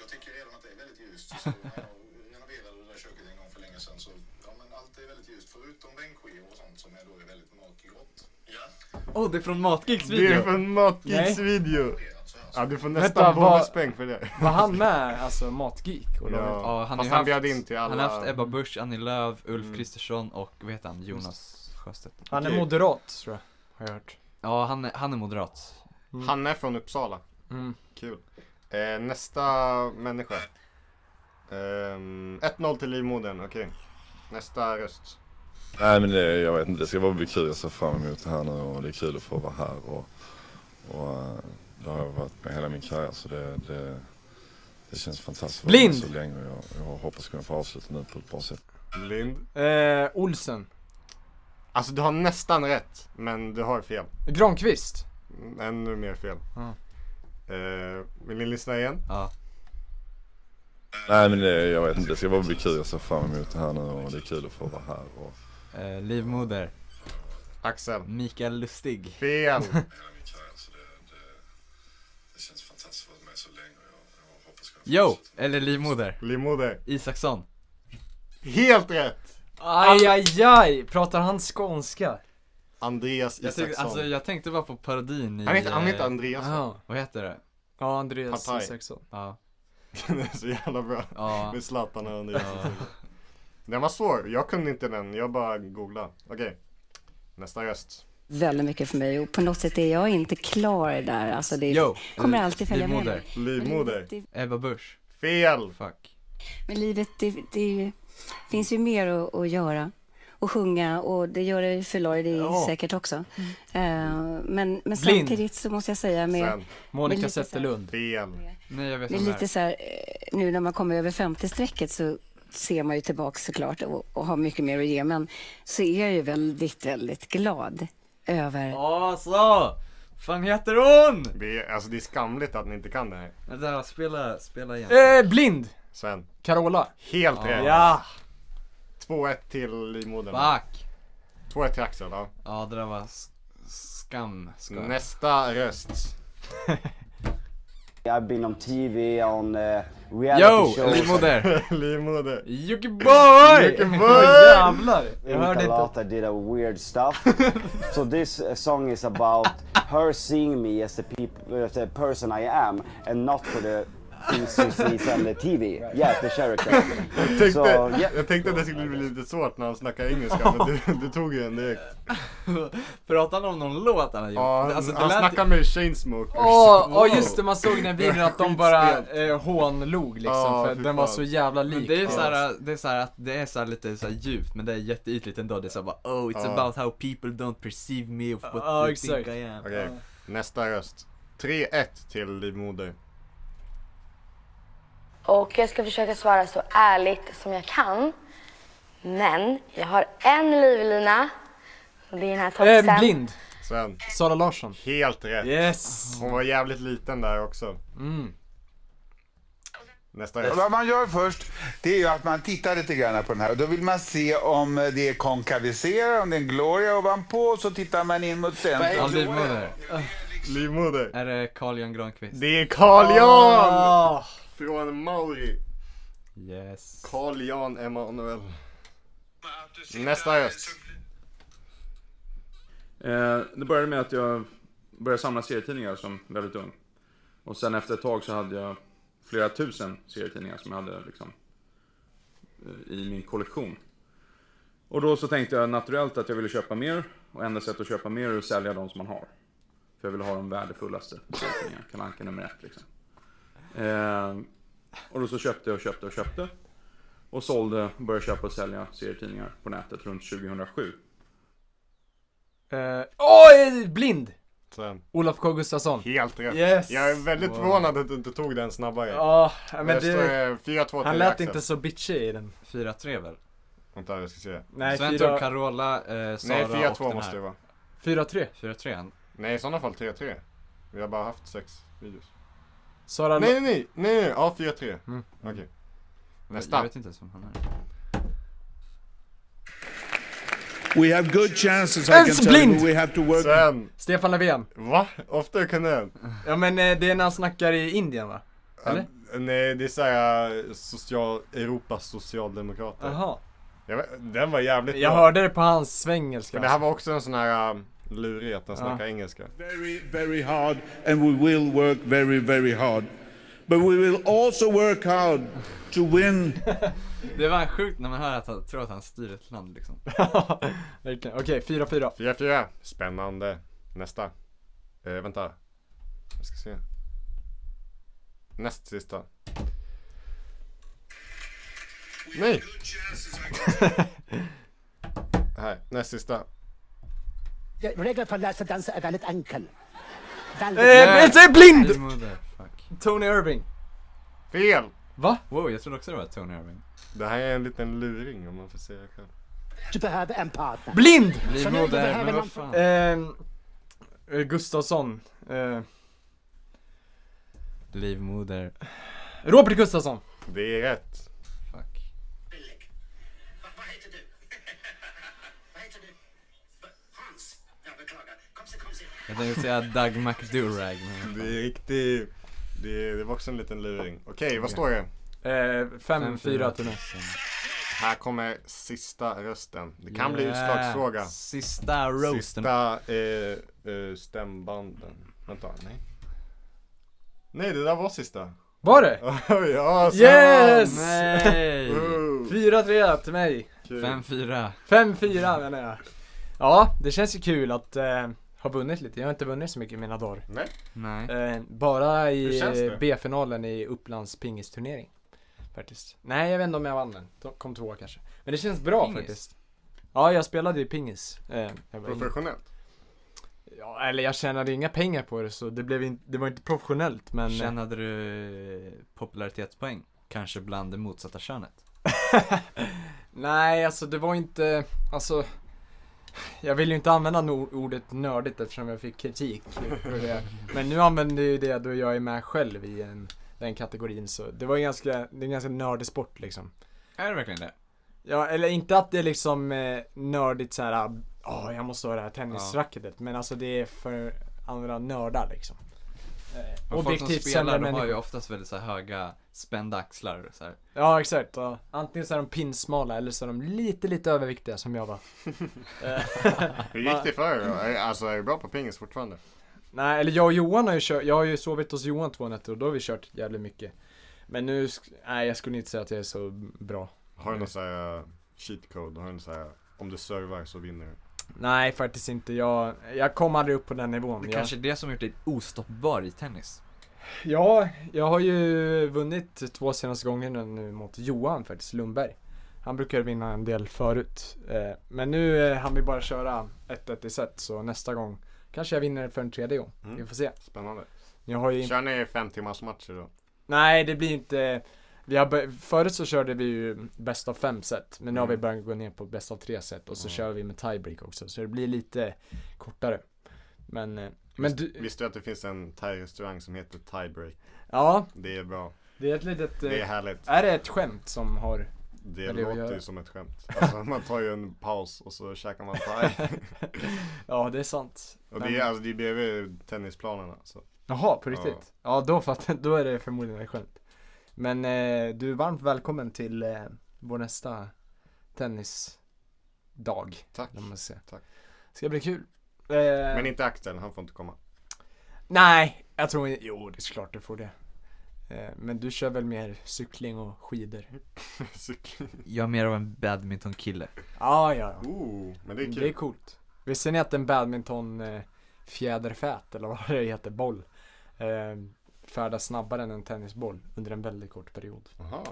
[SPEAKER 5] Jag tycker redan att det är väldigt ljust. Så när jag renoverade det där köket en gång för länge sedan så ja, men allt är väldigt ljust, förutom bänkskivor och sånt som är då är väldigt mörkgrått. Ja.
[SPEAKER 3] Åh, det är från Matgigs
[SPEAKER 2] Det är
[SPEAKER 3] video.
[SPEAKER 2] från Matgeeks video.
[SPEAKER 5] alltså-
[SPEAKER 2] Ja, du får
[SPEAKER 1] Vänta,
[SPEAKER 2] nästan
[SPEAKER 1] vad-
[SPEAKER 2] bonuspeng för det.
[SPEAKER 1] Var han med, alltså matgeek? Och la ut-
[SPEAKER 3] Ja,
[SPEAKER 2] Ja,
[SPEAKER 3] han har
[SPEAKER 2] fast
[SPEAKER 3] ju
[SPEAKER 2] han
[SPEAKER 3] haft-
[SPEAKER 2] bjöd in till alla. Mm.
[SPEAKER 3] Han har haft Ebba Busch, Annie Lööf, Ulf Kristersson och vad heter han? Jonas Sjöstedt.
[SPEAKER 1] Han är
[SPEAKER 2] Okej.
[SPEAKER 1] moderat tror jag, har jag hört.
[SPEAKER 3] Ja, han är, han är moderat.
[SPEAKER 2] Han är från Uppsala.
[SPEAKER 1] Mm.
[SPEAKER 2] Kul. Eh, nästa människa. Ehm, 1-0 till livmodern, okej. Nästa röst.
[SPEAKER 6] Nej men det, jag vet inte, det ska bara bli kul. Jag ser fram emot det här nu och det är kul att få vara här. Och, och eh, det har jag varit med hela min karriär så det, det, det känns fantastiskt. att vara med
[SPEAKER 1] Blind!
[SPEAKER 6] Så länge och jag, jag hoppas kunna få avsluta nu på ett bra sätt.
[SPEAKER 2] Blind.
[SPEAKER 1] Eh, Olsen.
[SPEAKER 2] Alltså du har nästan rätt, men du har fel.
[SPEAKER 1] Granqvist.
[SPEAKER 2] Ännu mer fel.
[SPEAKER 1] Ja.
[SPEAKER 2] Eh, vill ni lyssna igen?
[SPEAKER 3] Ja.
[SPEAKER 6] Nej men det, jag vet inte, det ska bara bli kul. Jag ser fram emot det här nu och det är kul att få vara här. Och,
[SPEAKER 3] Eh, livmoder.
[SPEAKER 2] Axel.
[SPEAKER 3] Mikael Lustig.
[SPEAKER 2] Fel!
[SPEAKER 6] hela min karriär så det, det, det känns fantastiskt att vara med så länge och jag, jag hoppas kunna
[SPEAKER 3] Yo! Eller livmoder.
[SPEAKER 2] Livmoder.
[SPEAKER 3] Isaksson.
[SPEAKER 2] Helt rätt!
[SPEAKER 1] Aj, aj, aj. Pratar han skånska?
[SPEAKER 2] Andreas
[SPEAKER 3] Jag,
[SPEAKER 2] Isaksson.
[SPEAKER 3] tyck, alltså, jag tänkte bara på parodin i...
[SPEAKER 2] han, heter, han heter
[SPEAKER 3] eh,
[SPEAKER 2] Andreas.
[SPEAKER 1] Ja.
[SPEAKER 3] Vad heter det?
[SPEAKER 1] Ja, Andreas
[SPEAKER 2] Partaj.
[SPEAKER 1] Isaksson.
[SPEAKER 3] Ja.
[SPEAKER 2] Den är så jävla bra.
[SPEAKER 3] Ja.
[SPEAKER 2] Med Zlatan och Andreas
[SPEAKER 3] Ja.
[SPEAKER 2] Isaksson. Den var svår. Jag kunde inte den. Jag bara googlade. Okej. Nästa röst.
[SPEAKER 7] väldigt mycket för mig och på något sätt är jag inte klar där. Alltså det
[SPEAKER 3] Yo!
[SPEAKER 7] kommer
[SPEAKER 3] eh,
[SPEAKER 7] alltid följa med
[SPEAKER 3] livmoder.
[SPEAKER 7] mig.
[SPEAKER 2] Livmoder.
[SPEAKER 7] Det,
[SPEAKER 3] Ebba Busch.
[SPEAKER 2] Fel!
[SPEAKER 3] Fuck.
[SPEAKER 7] men livet, det, det finns ju mer att, att göra och sjunga och det gör det för Lorry
[SPEAKER 1] Ja.
[SPEAKER 7] säkert också. Eh, men, men
[SPEAKER 1] Blind.
[SPEAKER 7] samtidigt så måste jag säga med,
[SPEAKER 2] Sen.
[SPEAKER 1] Monica
[SPEAKER 7] Men lite så här-
[SPEAKER 1] Zetterlund.
[SPEAKER 2] Fel.
[SPEAKER 3] Nej jag vet
[SPEAKER 7] med
[SPEAKER 3] vem det
[SPEAKER 7] lite
[SPEAKER 3] är.
[SPEAKER 7] så här, eh, nu när man kommer över 50-strecket så ser man ju tillbaka såklart och, och har mycket mer att ge. Men så är jag ju väldigt, väldigt glad över
[SPEAKER 3] Ja så! Fan heter hon?
[SPEAKER 2] Det är, alltså det är skamligt att ni inte kan det här.
[SPEAKER 3] Vänta, spela, spela igen.
[SPEAKER 1] Eh, blind!
[SPEAKER 2] Sven.
[SPEAKER 1] Carola.
[SPEAKER 2] Helt rätt.
[SPEAKER 1] Ja.
[SPEAKER 2] 2-1 till livmodern.
[SPEAKER 3] Fuck!
[SPEAKER 2] 2-1 till Axel. Ja.
[SPEAKER 3] Ja det där var sk- skam. Ska jag.
[SPEAKER 2] Nästa röst.
[SPEAKER 8] I've been on TV, on uh,
[SPEAKER 3] Yo!
[SPEAKER 8] reality shows.
[SPEAKER 3] Livmoder.
[SPEAKER 2] livmoder.
[SPEAKER 3] Jockiboi!
[SPEAKER 1] Åh jävlar. Jag
[SPEAKER 8] In
[SPEAKER 1] hörde inte.
[SPEAKER 8] Kalata did a weird stuff. so this uh, song is about her seeing me as the, peop- uh, the person I am and not for the things she sees on the TV. Yeah, the character.
[SPEAKER 2] Jag tänkte,
[SPEAKER 8] Så, ja.
[SPEAKER 2] jag tänkte att det skulle bli lite svårt när han snackar engelska, men du, du tog ju den direkt.
[SPEAKER 3] Pratar han om någon låt han har gjort?
[SPEAKER 2] Ja, han,
[SPEAKER 3] Alltså, det
[SPEAKER 2] han
[SPEAKER 3] lät-
[SPEAKER 2] snackar med Chainsmokers.
[SPEAKER 1] Åh,
[SPEAKER 3] Wow.
[SPEAKER 1] åh, just det, man såg i den videon att de bara eh, hånlog liksom
[SPEAKER 2] Ja,
[SPEAKER 1] för
[SPEAKER 2] fy
[SPEAKER 1] den var
[SPEAKER 2] fan.
[SPEAKER 1] så jävla
[SPEAKER 3] Men
[SPEAKER 1] lik.
[SPEAKER 3] det är
[SPEAKER 1] oss.
[SPEAKER 3] såhär, det är såhär att det är såhär lite såhär djupt men det är jätteytligt ändå. Det är såhär bara oh it's
[SPEAKER 2] Ja.
[SPEAKER 3] about how people don't perceive me of what
[SPEAKER 1] Ja,
[SPEAKER 3] they
[SPEAKER 1] exakt.
[SPEAKER 3] think I am.
[SPEAKER 2] Okej, nästa röst. 3-1 till Livmoder.
[SPEAKER 9] Och jag ska försöka svara så ärligt som jag kan. Men jag har en livlina. Och det är den här tofsen.
[SPEAKER 1] Eh, blind.
[SPEAKER 2] Sven,
[SPEAKER 1] Sara Larsson.
[SPEAKER 2] helt rätt.
[SPEAKER 1] Yes.
[SPEAKER 2] Hon var jävligt liten där också.
[SPEAKER 1] Mm.
[SPEAKER 2] Nästa röst.
[SPEAKER 10] Vad man gör först, det är ju att man tittar lite grann på den här. Då vill man se om det är konkaviserat, om det är en gloria ovanpå. Så tittar man in mot
[SPEAKER 3] Ja,
[SPEAKER 10] centrum.
[SPEAKER 3] livmoder.
[SPEAKER 2] Livmoder.
[SPEAKER 3] Är det Carl-Jan Granqvist?
[SPEAKER 2] Det är Carl Jan!
[SPEAKER 1] Ah.
[SPEAKER 2] Från Mauri.
[SPEAKER 3] Yes.
[SPEAKER 2] Carl Jan Emanuel. Nästa röst.
[SPEAKER 11] Eh, det började med att jag började samla serietidningar som väldigt ung. Och sen efter ett tag så hade jag flera tusen serietidningar som jag hade liksom, eh, i min kollektion. Och då så tänkte jag naturellt att jag ville köpa mer. Och enda sättet att köpa mer är att sälja de som man har. För jag ville ha de värdefullaste serietidningarna. Kalle Anka nummer ett liksom. Eh, och då så köpte jag och köpte och köpte. Och sålde, började köpa och sälja serietidningar på nätet runt 2007.
[SPEAKER 1] Eh, Oj, blind.
[SPEAKER 2] Sven,
[SPEAKER 1] Olof K Gustafsson.
[SPEAKER 2] helt rätt.
[SPEAKER 1] Yes.
[SPEAKER 2] Jag är väldigt förvånad att du inte tog den snabbare.
[SPEAKER 1] Ja, men
[SPEAKER 2] Röst,
[SPEAKER 1] det,
[SPEAKER 2] eh, 4-2 till
[SPEAKER 1] han lät
[SPEAKER 2] Axel.
[SPEAKER 1] inte så bitchig i den.
[SPEAKER 3] 4-3 väl?
[SPEAKER 2] Vänta, jag ska se.
[SPEAKER 1] Nej,
[SPEAKER 3] Sven
[SPEAKER 1] fyra-
[SPEAKER 3] tog Carola, eh, Sara
[SPEAKER 2] Nej,
[SPEAKER 3] och
[SPEAKER 2] 4-2
[SPEAKER 3] den
[SPEAKER 2] måste det
[SPEAKER 3] här.
[SPEAKER 2] vara.
[SPEAKER 1] 4-3.
[SPEAKER 3] 4-3?
[SPEAKER 2] Nej, i sådana fall 3-3. Vi har bara haft sex videos.
[SPEAKER 1] Sara
[SPEAKER 2] Nej, nej, nej, nej, nej. ja 4-3.
[SPEAKER 3] Mm.
[SPEAKER 2] Okej.
[SPEAKER 3] Jag
[SPEAKER 2] Nästa.
[SPEAKER 3] vet inte ens vem han är.
[SPEAKER 10] We have good chances,
[SPEAKER 1] I Ens can tell you, blind! but
[SPEAKER 10] we have to work
[SPEAKER 2] Sen,
[SPEAKER 1] Stefan Löfven.
[SPEAKER 2] va? Oftare kunde den.
[SPEAKER 1] Ja men eh, det är när han snackar i Indien va? Eller?
[SPEAKER 2] Ja, nej, det är såhär social, Europas socialdemokrater.
[SPEAKER 1] Jaha.
[SPEAKER 2] Jag vet, den var jävligt
[SPEAKER 1] Jag
[SPEAKER 2] bra.
[SPEAKER 1] hörde det på hans svengelska.
[SPEAKER 2] Men det här var också en sån här um, lurig att den snackar engelska.
[SPEAKER 10] very, very hard and we will work very, very hard. But we will also work hard to win
[SPEAKER 3] Det var sjukt när man hör att han tror att han styr ett land liksom.
[SPEAKER 1] Verkligen. Okej, 4-4.
[SPEAKER 2] 4-4. Spännande. Nästa. Eh, vänta. Jag ska se. Näst sista. Nej! här, näst sista.
[SPEAKER 8] Regeln för läsa dansa är väldigt enkel.
[SPEAKER 1] Eh, jag säger blind!
[SPEAKER 3] Livmoder, fuck.
[SPEAKER 1] Tony Irving.
[SPEAKER 2] Fel!
[SPEAKER 1] Va?
[SPEAKER 3] Wow, jag trodde också det var Tony Irving.
[SPEAKER 2] Det här är en liten luring om man får säga själv.
[SPEAKER 8] Du behöver en partner.
[SPEAKER 1] Blind!
[SPEAKER 3] Livmoder, men vad fan.
[SPEAKER 1] Ehm, Eh, Gustafsson. Eh,
[SPEAKER 3] Livmoder,
[SPEAKER 1] Robert Gustafsson.
[SPEAKER 2] Det är rätt.
[SPEAKER 3] fuck.
[SPEAKER 5] Vad heter du? Vad heter du? Hans? Jag beklagar. Kom se, kom se.
[SPEAKER 3] Jag tänkte säga Doug McDurag men...
[SPEAKER 2] Det är riktig Det, det var också en liten luring. Okej, vad står det?
[SPEAKER 1] Eh, fem, Fem, fyra fyra till mig.
[SPEAKER 2] Här kommer sista rösten. Det kan
[SPEAKER 3] Yeah.
[SPEAKER 2] bli utslagsfråga.
[SPEAKER 3] Sista roasten.
[SPEAKER 2] Sista eh, eh, stämbanden. Vänta, nej. Nej, det där var sista.
[SPEAKER 1] Var det?
[SPEAKER 2] ja, Sam!
[SPEAKER 1] Yes!
[SPEAKER 2] Nej. Woo.
[SPEAKER 1] 4-3 till mig.
[SPEAKER 2] Kul. 5-4.
[SPEAKER 1] 5-4 menar jag. Ja, det känns ju kul att eh, ha vunnit lite. Jag har inte vunnit så mycket i mina dagar.
[SPEAKER 2] Nej.
[SPEAKER 3] Nej.
[SPEAKER 1] Eh, bara
[SPEAKER 3] Hur
[SPEAKER 1] i
[SPEAKER 3] känns det?
[SPEAKER 1] B-finalen i Upplands pingisturnering. Faktiskt. Nej, jag vet inte om jag vann den. De Kom tvåa kanske. Men det känns bra
[SPEAKER 2] Pingis?
[SPEAKER 1] faktiskt. Ja, jag spelade ju pingis. Eh, jag var yngre.
[SPEAKER 2] Professionellt?
[SPEAKER 1] Ja, eller jag tjänade inga pengar på det så det, blev in, det var inte professionellt men...
[SPEAKER 3] Tjänade du popularitetspoäng? Kanske bland det motsatta könet?
[SPEAKER 1] Nej, alltså det var inte, alltså jag vill ju inte använda no- ordet nördigt eftersom jag fick kritik för det. Men nu använder jag ju det då jag är med själv i en, den kategorin så det var ju ganska, det är en ganska nördig sport liksom.
[SPEAKER 3] Är det verkligen det?
[SPEAKER 1] Ja, eller inte att det är liksom eh, nördigt såhär, åh jag måste ha det här tennisracketet. Men alltså det är för andra nördar liksom. Eh,
[SPEAKER 3] Och folk som
[SPEAKER 1] objektivt
[SPEAKER 3] spelar
[SPEAKER 1] sämre
[SPEAKER 3] de har ju
[SPEAKER 1] människor.
[SPEAKER 3] oftast väldigt så här höga spända axlar och så här.
[SPEAKER 1] Ja exakt, ja. antingen så är de pinsmala eller så är de lite lite överviktiga som jag var. Eh,
[SPEAKER 2] Hur gick det för er då? Är- Alltså är du bra på pingis fortfarande?
[SPEAKER 1] Nej, eller jag och Johan har ju kört, jag har ju sovit hos Johan två nätter och då har vi kört jävligt mycket. Men nu, sk- nej jag skulle inte säga att jag är så bra.
[SPEAKER 2] Har du någon sån här eh, cheat code? Har du någon sån här, om du servar så vinner du?
[SPEAKER 1] Nej faktiskt inte, jag, jag kom aldrig upp på den nivån.
[SPEAKER 3] Det
[SPEAKER 1] Jag,
[SPEAKER 3] kanske är det som har gjort dig ostoppbar i tennis.
[SPEAKER 1] Ja, jag har ju vunnit två senaste gångerna nu mot Johan faktiskt, Lundberg. Han brukade vinna en del förut. Eh, Men nu eh, han vill bara köra 1-1 i set så nästa gång kanske jag vinner för en tredje gång. Vi får se.
[SPEAKER 2] Spännande.
[SPEAKER 1] Jag har ju-
[SPEAKER 2] Mm. Kör ni fem timmars matcher då?
[SPEAKER 1] Nej, det blir inte... Vi har, bör- förut så körde vi ju bäst av fem set, men nu
[SPEAKER 2] Mm.
[SPEAKER 1] har vi börjat gå ner på bäst av tre set och så kör vi med tiebreak också, så det blir lite kortare. Men, eh, men du,
[SPEAKER 2] Visste du att det finns en thai-restaurang som heter Tiebreak?
[SPEAKER 1] Ja.
[SPEAKER 2] Det är bra.
[SPEAKER 1] det är ett litet...
[SPEAKER 2] Det
[SPEAKER 1] eh,
[SPEAKER 2] är härligt.
[SPEAKER 1] Är det ett skämt som har
[SPEAKER 2] Det
[SPEAKER 1] med att
[SPEAKER 2] låter
[SPEAKER 1] göra?
[SPEAKER 2] ju som ett skämt. Alltså man tar ju en paus och så käkar man thai.
[SPEAKER 1] Ja, det är sant.
[SPEAKER 2] Och det är, alltså, det är bredvid alltså. tennisplanerna. Så.
[SPEAKER 1] Jaha, på
[SPEAKER 2] Ja.
[SPEAKER 1] riktigt? Ja, då fattar Då är det förmodligen ett skämt. Men eh, du är varmt välkommen till eh, vår nästa tennisdag.
[SPEAKER 2] Tack.
[SPEAKER 1] Tack. Ska bli kul. Eh,
[SPEAKER 2] Men inte Axel, han får inte komma.
[SPEAKER 1] Nej, jag tror inte, jo det är klart du får det. Eh, Men du kör väl mer cykling och skidor?
[SPEAKER 2] Cykling?
[SPEAKER 3] Jag är mer av en badmintonkille.
[SPEAKER 1] Ja, ja, ja.
[SPEAKER 2] Ooh, men det är kul.
[SPEAKER 1] Det är coolt. Visste ni att en badminton eh, fjäderfät, eller vad det heter, boll, eh, färdas snabbare än en tennisboll under en väldigt kort period.
[SPEAKER 2] Aha.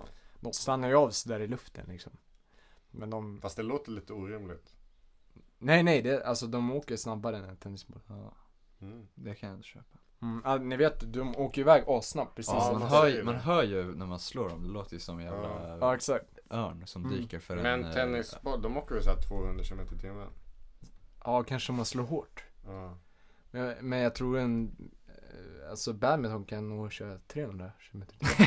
[SPEAKER 1] De stannar ju av sådär i luften liksom. Men de...
[SPEAKER 2] Fast det låter lite orimligt.
[SPEAKER 1] Nej, nej, det, alltså de åker snabbare än en tennisboll.
[SPEAKER 2] Mm.
[SPEAKER 3] Det kan jag inte köpa.
[SPEAKER 1] Mm, ah, ni vet, de åker iväg assnabbt precis.
[SPEAKER 3] Ja,
[SPEAKER 1] som
[SPEAKER 3] man,
[SPEAKER 1] de
[SPEAKER 3] hör
[SPEAKER 1] säger
[SPEAKER 3] ju,
[SPEAKER 1] det.
[SPEAKER 3] man hör ju när man slår dem, det låter ju som en jävla
[SPEAKER 1] Ja, exakt.
[SPEAKER 3] örn som
[SPEAKER 1] Mm.
[SPEAKER 3] dyker för en...
[SPEAKER 2] Men
[SPEAKER 3] eh,
[SPEAKER 2] tennisboll, de åker ju såhär 200 km i timmen.
[SPEAKER 1] Ja, kanske om man slår hårt.
[SPEAKER 2] Ja.
[SPEAKER 1] Men jag, men jag tror en, eh, alltså badminton kan nog köra 300 km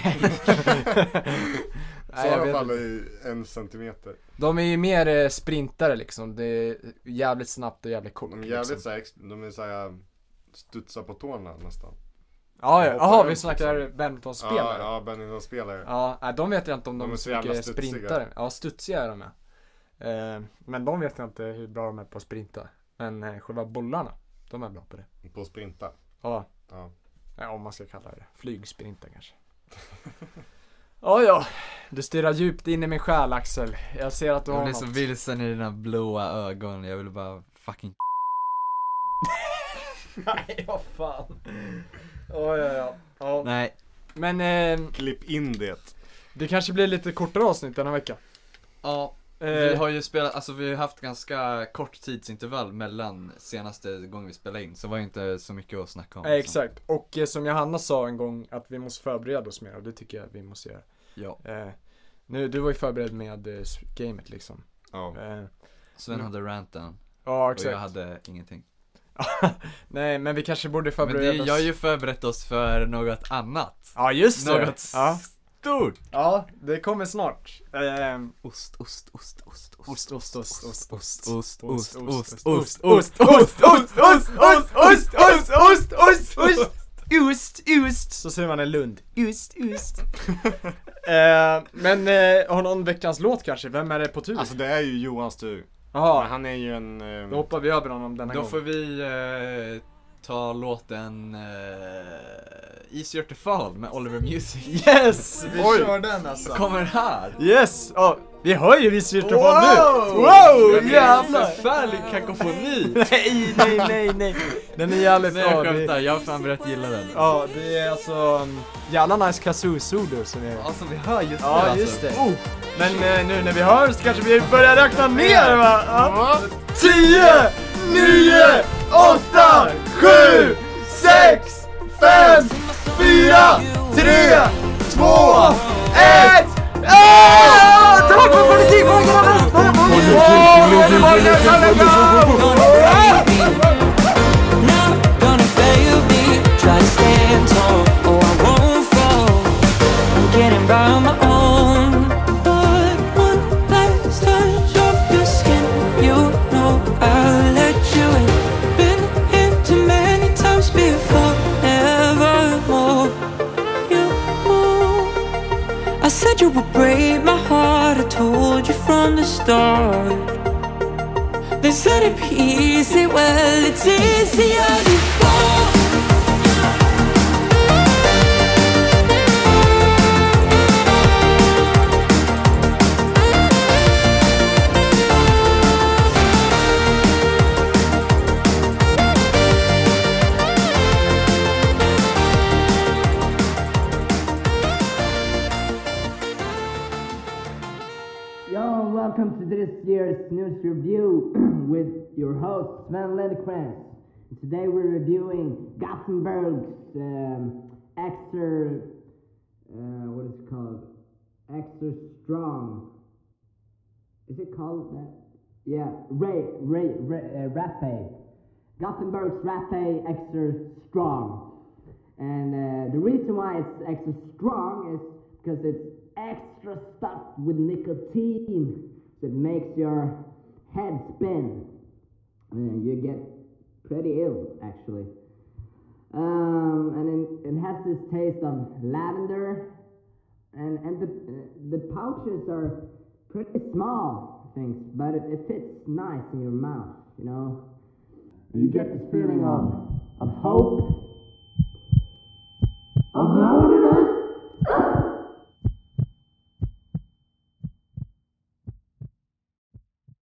[SPEAKER 2] Så i alla fall i en centimeter.
[SPEAKER 1] De är ju mer eh, sprintare liksom, det är jävligt snabbt och jävligt kort.
[SPEAKER 2] De är jävligt
[SPEAKER 1] liksom.
[SPEAKER 2] såhär, ex- de är såhär studsar på tårna nästan.
[SPEAKER 1] Ja, ja.
[SPEAKER 2] De hoppar
[SPEAKER 1] Jaha,
[SPEAKER 2] runt,
[SPEAKER 1] vi snackar
[SPEAKER 2] liksom.
[SPEAKER 1] badmintonspelare.
[SPEAKER 2] Ja, ja badmintonspelare.
[SPEAKER 1] Ja, nej, de vet jag inte om de,
[SPEAKER 2] De är
[SPEAKER 1] är
[SPEAKER 2] så
[SPEAKER 1] så
[SPEAKER 2] jävla
[SPEAKER 1] mycket
[SPEAKER 2] studsiga.
[SPEAKER 1] sprintare. Ja, studsiga är de ja. Eh, men de vet jag inte hur bra de är på att sprinta. Men eh, själva bollarna, de är bra på det.
[SPEAKER 2] På att sprinta.
[SPEAKER 1] Ja.
[SPEAKER 2] Ja.
[SPEAKER 1] ja, om man ska kalla det Flygsprinta kanske. Ja, ja. Du stirrar djupt in i min själ Axel. Jag ser att du
[SPEAKER 3] Jag
[SPEAKER 1] har
[SPEAKER 3] blir
[SPEAKER 1] något.
[SPEAKER 3] så vilsen i dina blåa ögon, jag vill bara fucking
[SPEAKER 1] Nej, vad fan. Ja, ja, ja. ja.
[SPEAKER 3] Nej.
[SPEAKER 1] Men... Eh,
[SPEAKER 2] Klipp in det.
[SPEAKER 1] Det kanske blir lite kortare avsnitt den här veckan.
[SPEAKER 3] Ja,
[SPEAKER 1] Eh,
[SPEAKER 3] vi har ju spelat, alltså vi har haft ganska kort tidsintervall mellan senaste gången vi spelade in, så det var ju inte så mycket att snacka om. liksom.
[SPEAKER 1] Eh, exakt. Och eh, som Johanna sa en gång att vi måste förbereda oss mer och det tycker jag att vi måste göra.
[SPEAKER 3] Ja.
[SPEAKER 1] Eh, nu, du var ju förberedd med eh, s- gamet liksom.
[SPEAKER 2] Ja.
[SPEAKER 1] Eh,
[SPEAKER 3] Sven
[SPEAKER 1] men-
[SPEAKER 3] hade ranten.
[SPEAKER 1] Ja,
[SPEAKER 3] Och
[SPEAKER 1] exakt.
[SPEAKER 3] jag hade ingenting.
[SPEAKER 1] Nej, men vi kanske borde
[SPEAKER 3] Men
[SPEAKER 1] förbereda
[SPEAKER 3] det,
[SPEAKER 1] oss.
[SPEAKER 3] jag har ju förberett oss för något annat.
[SPEAKER 1] Ja, just det.
[SPEAKER 3] Något
[SPEAKER 1] Ja.
[SPEAKER 3] stort.
[SPEAKER 1] Ja, det kommer snart. Eh,
[SPEAKER 3] ost, ost, ost, ost,
[SPEAKER 1] ost, ost, ost, ost, ost,
[SPEAKER 3] ost, ost, ost,
[SPEAKER 1] ost, ost, ost, ost, ost, ost, ost, ost, ost, ost, ost, ost, ost, ost, ost. Ost, ost! Så säger man en Lund. Ost, ost. eh, men eh, har någon veckans låt kanske? Vem är det på tur?
[SPEAKER 2] Alltså det är ju Johans tur.
[SPEAKER 1] Jaha.
[SPEAKER 2] Men han är ju en... eh,
[SPEAKER 1] Då hoppar vi över honom denna
[SPEAKER 3] Då
[SPEAKER 1] gång.
[SPEAKER 3] får vi eh, ta låten eh, Easier to fall med Oliver Music.
[SPEAKER 1] Yes!
[SPEAKER 3] Vi
[SPEAKER 1] Oj.
[SPEAKER 3] kör den alltså. Kommer här.
[SPEAKER 1] Yes! Ja, vi hör ju Viss Virtual
[SPEAKER 3] Wow!
[SPEAKER 1] nu!
[SPEAKER 3] Det
[SPEAKER 1] Wow!
[SPEAKER 3] blir
[SPEAKER 1] Jävlar!
[SPEAKER 3] en förfärlig kakofoni.
[SPEAKER 1] nej, nej, nej, nej! Den är jävligt
[SPEAKER 3] Nej, jag
[SPEAKER 1] bra. Det-
[SPEAKER 3] skämtar. Jag har fan börjat gilla den.
[SPEAKER 1] Ja, det är alltså um, jävla nice kazoo-solo som är...
[SPEAKER 3] Ja, som vi hör just nu
[SPEAKER 1] Ja,
[SPEAKER 3] alltså.
[SPEAKER 1] just det. Men eh, nu när vi hör så kanske vi börjar räkna ner va? Ja. 10, 9, 8, 7, 6, 5, 4, 3, 2, 1! Tack för politikfrågorna!
[SPEAKER 12] gonna fail me. Try to stand tall, oh I won't fall. I'm getting by on my own. But one last touch of your skin, you know I'll let you in. Been here too many times before, never more. You won't. I said you would break my heart. I told you from the start. They said it'd be easy, well, it's easier to fall.
[SPEAKER 13] Yo, welcome to this year's news review with your host Sven Lindqvist. Today we're reviewing Gothenburg's um, extra, uh, what is it called? Extra strong. Is it called that? Yeah, Ray, Ray, Ray uh, Rappe. Gothenburg's Rappe extra strong. And uh, the reason why it's extra strong is because it's extra stuffed with nicotine that makes your head spin. And you get pretty ill, actually. Um, and it, it has this taste of lavender. And, and the, the pouches are pretty small things, but it, it fits nice in your mouth, you know? You get this feeling of, of hope